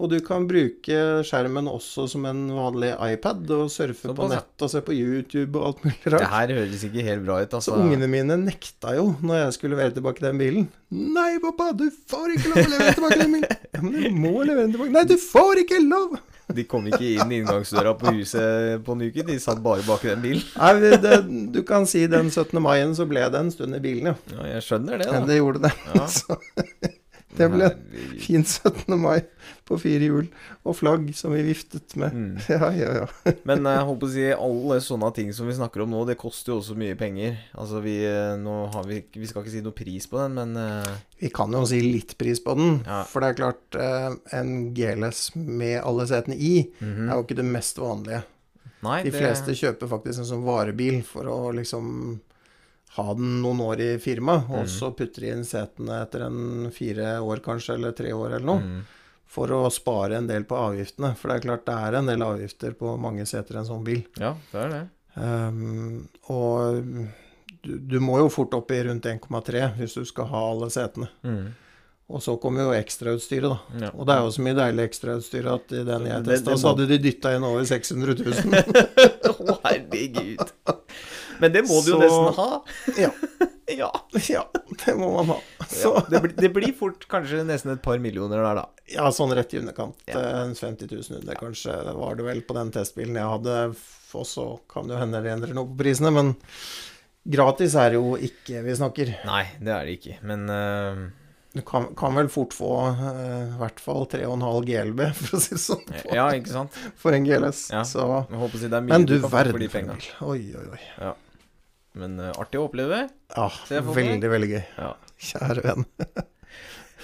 Speaker 1: Og du kan bruke skjermen også som en vanlig iPad, og surfe på
Speaker 2: Såpass, ja.
Speaker 1: nett og se på YouTube og alt mulig
Speaker 2: Det
Speaker 1: rart.
Speaker 2: her høres ikke helt bra ut, altså.
Speaker 1: Så ungene mine nekta jo når jeg skulle levere tilbake den bilen. 'Nei, pappa, du får ikke lov å levere tilbake den bilen.' Ja, 'Men du må levere den tilbake.' 'Nei, du får ikke lov!'
Speaker 2: De kom ikke inn inngangsdøra på huset på Nuki, de satt bare bak den bilen.
Speaker 1: Nei, vi- det, Du kan si den 17. maien så ble det en stund i bilen, ja.
Speaker 2: Ja, jeg skjønner det,
Speaker 1: Men
Speaker 2: da.
Speaker 1: det gjorde det.
Speaker 2: Ja.
Speaker 1: Så det ble en
Speaker 2: Herregud.
Speaker 1: fin 17. mai på fire hjul og flagg som vi viftet med.
Speaker 2: Mm.
Speaker 1: Ja, ja, ja.
Speaker 2: Men eh, jeg håper å si alle sånne ting som vi snakker om nå, det koster jo også mye penger. Altså vi, eh, nå har vi, vi skal ikke si noe pris på den, men eh,
Speaker 1: Vi kan jo si litt pris på den,
Speaker 2: Ja.
Speaker 1: for det er klart eh, en GLS med alle setene i
Speaker 2: Mhm.
Speaker 1: er jo ikke det mest vanlige.
Speaker 2: nei,
Speaker 1: De fleste kjøper faktisk en sånn varebil for å liksom ha den noen år i firmaet,
Speaker 2: Mm.
Speaker 1: og så putter de inn setene etter en fire år kanskje, eller tre år eller noe.
Speaker 2: Mm.
Speaker 1: for å spare en del på avgiftene. For det er klart det er en del avgifter på mange seter i en sånn bil.
Speaker 2: Ja, det er det.
Speaker 1: Ehm, og du, du må jo fort opp i rundt 1,3 hvis du skal ha alle setene.
Speaker 2: Mm.
Speaker 1: Og så kommer jo ekstrautstyret, da.
Speaker 2: Ja.
Speaker 1: Og det er jo så mye deilig ekstrautstyr at i den jeg
Speaker 2: Det- det
Speaker 1: testa, så
Speaker 2: må-
Speaker 1: hadde de dytta inn over 600 000.
Speaker 2: Å, herregud. Men det må du jo
Speaker 1: Så-
Speaker 2: nesten ha.
Speaker 1: ja.
Speaker 2: Ja.
Speaker 1: ja, det må man ha. Så
Speaker 2: ja. Det, blir- det blir fort kanskje nesten et par millioner der, da.
Speaker 1: ja, sånn rett i underkant.
Speaker 2: Ja.
Speaker 1: eh, 50 000 under, kanskje, var det vel på den testbilen jeg hadde. F- Og så kan det jo hende det endrer noe på prisene, men gratis er det jo ikke vi snakker.
Speaker 2: Nei, det er det ikke. Men eh,
Speaker 1: Du kan, kan vel fort få eh, i hvert fall 3,5 GLB, for å si det sånn,
Speaker 2: ja, ikke sant.
Speaker 1: for en GLS.
Speaker 2: Ja.
Speaker 1: Så,
Speaker 2: Jeg håper å si det er mye
Speaker 1: men du
Speaker 2: kan få
Speaker 1: verden
Speaker 2: for de
Speaker 1: for en
Speaker 2: penga.
Speaker 1: bil. Oi, oi, oi.
Speaker 2: Men eh, artig å oppleve.
Speaker 1: Ja,
Speaker 2: jeg for meg.
Speaker 1: veldig, veldig gøy.
Speaker 2: Ja.
Speaker 1: Kjære venn.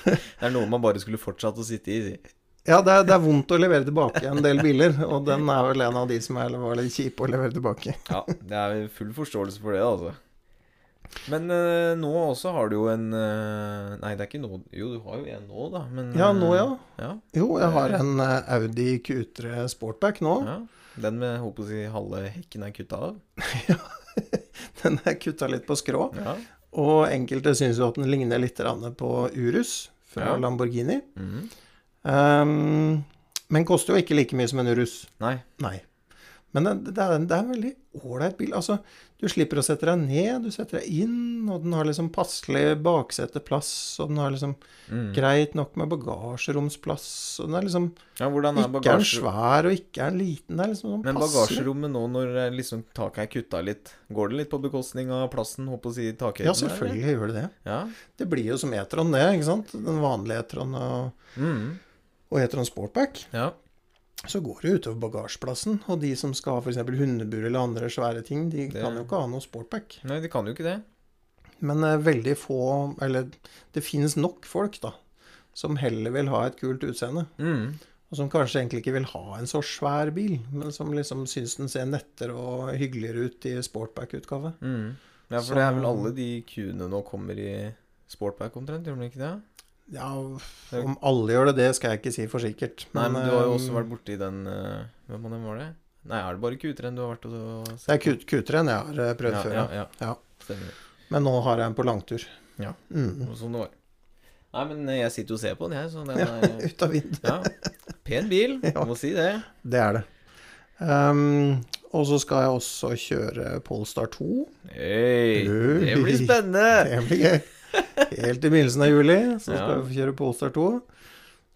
Speaker 2: Det er noe man bare skulle fortsatt å sitte i. si.
Speaker 1: Ja, det er, det er vondt å levere tilbake en del biler, og den er vel en av de som er var litt kjipe å levere tilbake.
Speaker 2: Ja, det er full forståelse for det, altså. Men eh, nå også har du jo en eh, Nei, det er ikke nå Jo, du har jo en nå, da. Men,
Speaker 1: Ja, nå,
Speaker 2: eh,
Speaker 1: ja.
Speaker 2: ja.
Speaker 1: Jo, jeg har en eh, Audi Q3 Sportback nå.
Speaker 2: ja. Den med håper å si halve hekken er kutta av.
Speaker 1: Den er kutta litt på skrå.
Speaker 2: Ja.
Speaker 1: Og enkelte syns jo at den ligner litt grann på Urus fra
Speaker 2: Ja.
Speaker 1: Lamborghini.
Speaker 2: Mhm.
Speaker 1: Ehm, men koster jo ikke like mye som en Urus.
Speaker 2: Nei.
Speaker 1: Nei. Men det, det, er, en- det er en veldig ålreit bil. Altså, du slipper å sette deg ned, du setter deg inn, og den har liksom passelig bakseteplass, og den har liksom
Speaker 2: Mm.
Speaker 1: greit nok med bagasjeromsplass, og den er liksom
Speaker 2: Ja, hvordan er
Speaker 1: ikke er den
Speaker 2: bagasje...
Speaker 1: svær og ikke er den liten. Det er liksom sånn
Speaker 2: Men
Speaker 1: passelig.
Speaker 2: bagasjerommet nå når eh, liksom taket er kutta litt, går det litt på bekostning av plassen? Håper å si takhøyden?
Speaker 1: Ja,
Speaker 2: der, eller?
Speaker 1: selvfølgelig gjør det det.
Speaker 2: Ja.
Speaker 1: Det blir jo som E-tron, det. ikke sant? Den vanlige E-tron og,
Speaker 2: Mhm.
Speaker 1: og E-tron Sportback.
Speaker 2: ja.
Speaker 1: Så går det jo utover bagasjeplassen. Og de som skal ha f.eks. hundebur eller andre svære ting, de
Speaker 2: Det-
Speaker 1: kan jo ikke ha noe Sportback.
Speaker 2: Nei, de kan jo ikke det.
Speaker 1: Men eh, veldig få Eller det finnes nok folk, da, som heller vil ha et kult utseende.
Speaker 2: Mhm.
Speaker 1: Og som kanskje egentlig ikke vil ha en så svær bil, men som liksom syns den ser nettere og hyggeligere ut i Sportback-utgave.
Speaker 2: Mm. Ja, for det er vel alle de kuene nå kommer i sportback omtrent, gjør de ikke det?
Speaker 1: Ja, om alle gjør det, det skal jeg ikke si for sikkert.
Speaker 2: Nei, men du har jo også
Speaker 1: eh,
Speaker 2: vært borti den eh, Hvem av dem var det? Nei, er det bare Q3-en du har vært og
Speaker 1: Det er kut- kutere enn jeg har eh, prøvd før.
Speaker 2: ja,
Speaker 1: Ja.
Speaker 2: ja, ja.
Speaker 1: Ja.
Speaker 2: Stemmer.
Speaker 1: Men nå har jeg en på langtur.
Speaker 2: Ja.
Speaker 1: Mm.
Speaker 2: Og Sånn det var. Nei, men eh, jeg sitter jo og ser på den, jeg, så den er
Speaker 1: Ut av vinduet.
Speaker 2: Ja. Pen bil,
Speaker 1: Ja.
Speaker 2: må si det.
Speaker 1: Det er det. Ehm, og så skal jeg også kjøre Polestar 2.
Speaker 2: Hey, det
Speaker 1: Oi.
Speaker 2: blir spennende!
Speaker 1: Det blir gøy. Helt i begynnelsen av juli så skal
Speaker 2: Ja.
Speaker 1: vi få kjøre Polestar 2.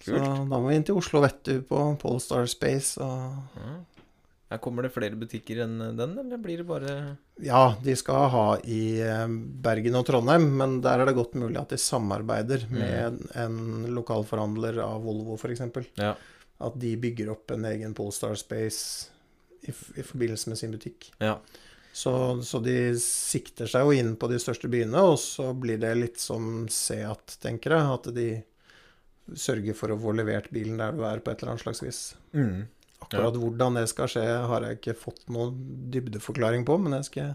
Speaker 1: Så da må vi inn til Oslo, vet du, på Polestar Space. Og
Speaker 2: Her kommer det flere butikker enn eh, den, eller blir det bare
Speaker 1: ja, de skal ha i eh, Bergen og Trondheim, men der er det godt mulig at de samarbeider
Speaker 2: Mm.
Speaker 1: med en lokalforhandler av Volvo, f.eks.
Speaker 2: Ja.
Speaker 1: At de bygger opp en egen Polestar Space i, f- i forbindelse med sin butikk.
Speaker 2: Ja.
Speaker 1: Så, så de sikter seg jo inn på de største byene, og så blir det litt som Seat, tenker jeg. At de sørger for å få levert bilen der du er, på et eller annet slags vis.
Speaker 2: Mm.
Speaker 1: Akkurat hvordan det skal skje, har jeg ikke fått noen dybdeforklaring på, men jeg skal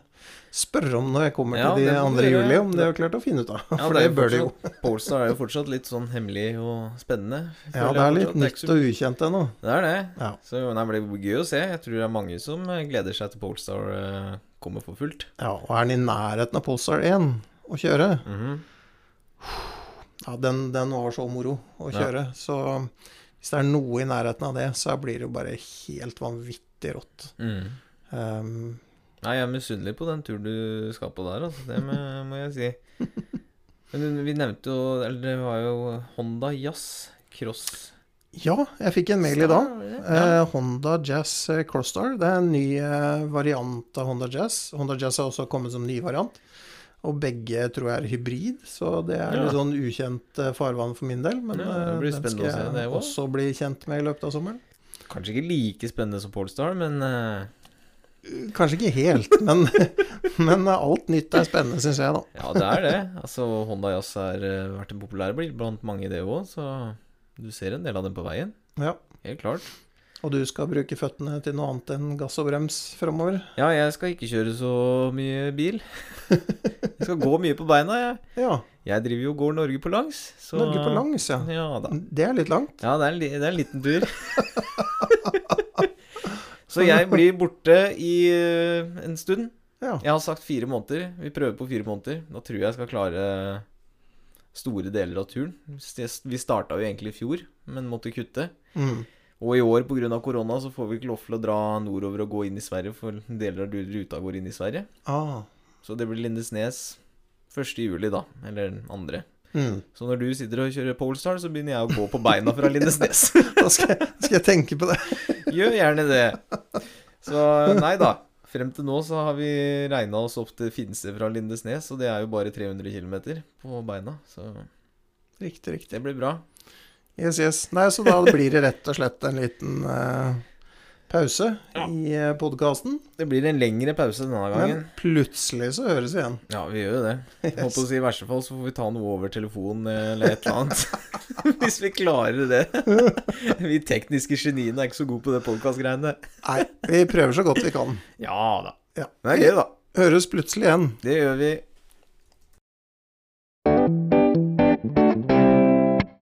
Speaker 1: spørre om når jeg kommer
Speaker 2: Ja,
Speaker 1: til
Speaker 2: det
Speaker 1: de
Speaker 2: må du
Speaker 1: andre
Speaker 2: gjøre.
Speaker 1: juli, om de har klart å finne ut av.
Speaker 2: Ja,
Speaker 1: For det,
Speaker 2: er
Speaker 1: bør de jo.
Speaker 2: fortsatt- Polestar er jo fortsatt litt sånn hemmelig og spennende. føler
Speaker 1: Ja,
Speaker 2: jeg
Speaker 1: det er litt
Speaker 2: fortsatt. ikke
Speaker 1: nytt
Speaker 2: så-
Speaker 1: og ukjent ennå.
Speaker 2: Det er det.
Speaker 1: Ja.
Speaker 2: Så nei, men det blir gøy å se. Jeg tror det er mange som eh, gleder seg til Polestar eh, kommer for fullt.
Speaker 1: Ja, og er den i nærheten av Polestar 1 å kjøre?
Speaker 2: Mhm.
Speaker 1: Ja, den, den var så moro å
Speaker 2: Ja.
Speaker 1: kjøre. Så hvis det er noe i nærheten av det, så blir det jo bare helt vanvittig rått.
Speaker 2: mm.
Speaker 1: Ehm,
Speaker 2: Nei, jeg er misunnelig på den turen du skal på der, altså. Det må, må jeg si. Men vi nevnte jo Eller det var jo Honda Jazz Cross.
Speaker 1: ja, jeg fikk en mail i dag.
Speaker 2: Star, var det? Ja.
Speaker 1: Eh, Honda Jazz eh, Crossstar. Det er en ny eh, variant av Honda Jazz. Honda Jazz har også kommet som ny variant. Og begge tror jeg er hybrid, så det er
Speaker 2: Ja.
Speaker 1: litt sånn ukjent eh, farvann for min del. Men
Speaker 2: Ja, det
Speaker 1: eh,
Speaker 2: blir
Speaker 1: den
Speaker 2: spennende
Speaker 1: skal
Speaker 2: å se det
Speaker 1: jeg
Speaker 2: også.
Speaker 1: også bli kjent med i løpet av sommeren.
Speaker 2: Kanskje ikke like spennende som Polestar, men eh,
Speaker 1: Kanskje ikke helt, men, men alt nytt er spennende, syns jeg, da.
Speaker 2: Ja, det er det. Altså, Honda Jazz har eh, vært en populær bil blant mange, det òg. Så du ser en del av dem på veien.
Speaker 1: Ja.
Speaker 2: Helt klart.
Speaker 1: Og du skal bruke føttene til noe annet enn gass og brems framover?
Speaker 2: Ja, jeg skal ikke kjøre så mye bil. Jeg skal gå mye på beina, jeg.
Speaker 1: Ja.
Speaker 2: Jeg driver jo og går Norge på langs. Så...
Speaker 1: Norge på langs, ja.
Speaker 2: Ja da.
Speaker 1: Det er litt langt.
Speaker 2: Ja, det er, en li- det er en liten tur. så jeg blir borte i eh, en stund.
Speaker 1: Ja.
Speaker 2: Jeg har sagt fire måneder. Vi prøver på fire måneder. Da tror jeg jeg skal klare store deler av turen. S- Vi starta jo egentlig i fjor, men måtte kutte.
Speaker 1: Mm.
Speaker 2: Og i år pga. korona så får vi ikke lov til å dra nordover og gå inn i Sverige, for deler av ruta går inn i Sverige.
Speaker 1: Ah.
Speaker 2: Så det blir Lindesnes 1. juli, da. Eller den andre.
Speaker 1: Mm.
Speaker 2: Så når du sitter og kjører Polestar, så begynner jeg å gå på beina fra Lindesnes.
Speaker 1: Da skal, jeg- skal jeg tenke på det.
Speaker 2: Gjør gjerne det. Så nei da. Frem til nå så har vi regna oss opp til Finse fra Lindesnes, og det er jo bare 300 km på beina. Så
Speaker 1: Riktig, riktig.
Speaker 2: det blir bra.
Speaker 1: Yes, yes. Nei, så da blir det rett og slett en liten eh, pause i uh, podkasten.
Speaker 2: Det blir en lengre pause denne gangen.
Speaker 1: Men plutselig så høres vi igjen.
Speaker 2: Ja, vi gjør jo det. Jeg Holdt på å si I verste fall så får vi ta noe over telefonen eller et eller annet. Hvis vi klarer det. Vi tekniske geniene er ikke så gode på det podkastgreiene.
Speaker 1: Nei, vi prøver så godt vi kan.
Speaker 2: Ja da.
Speaker 1: Ja.
Speaker 2: Det er gøy, da.
Speaker 1: Høres plutselig igjen.
Speaker 2: Det gjør vi.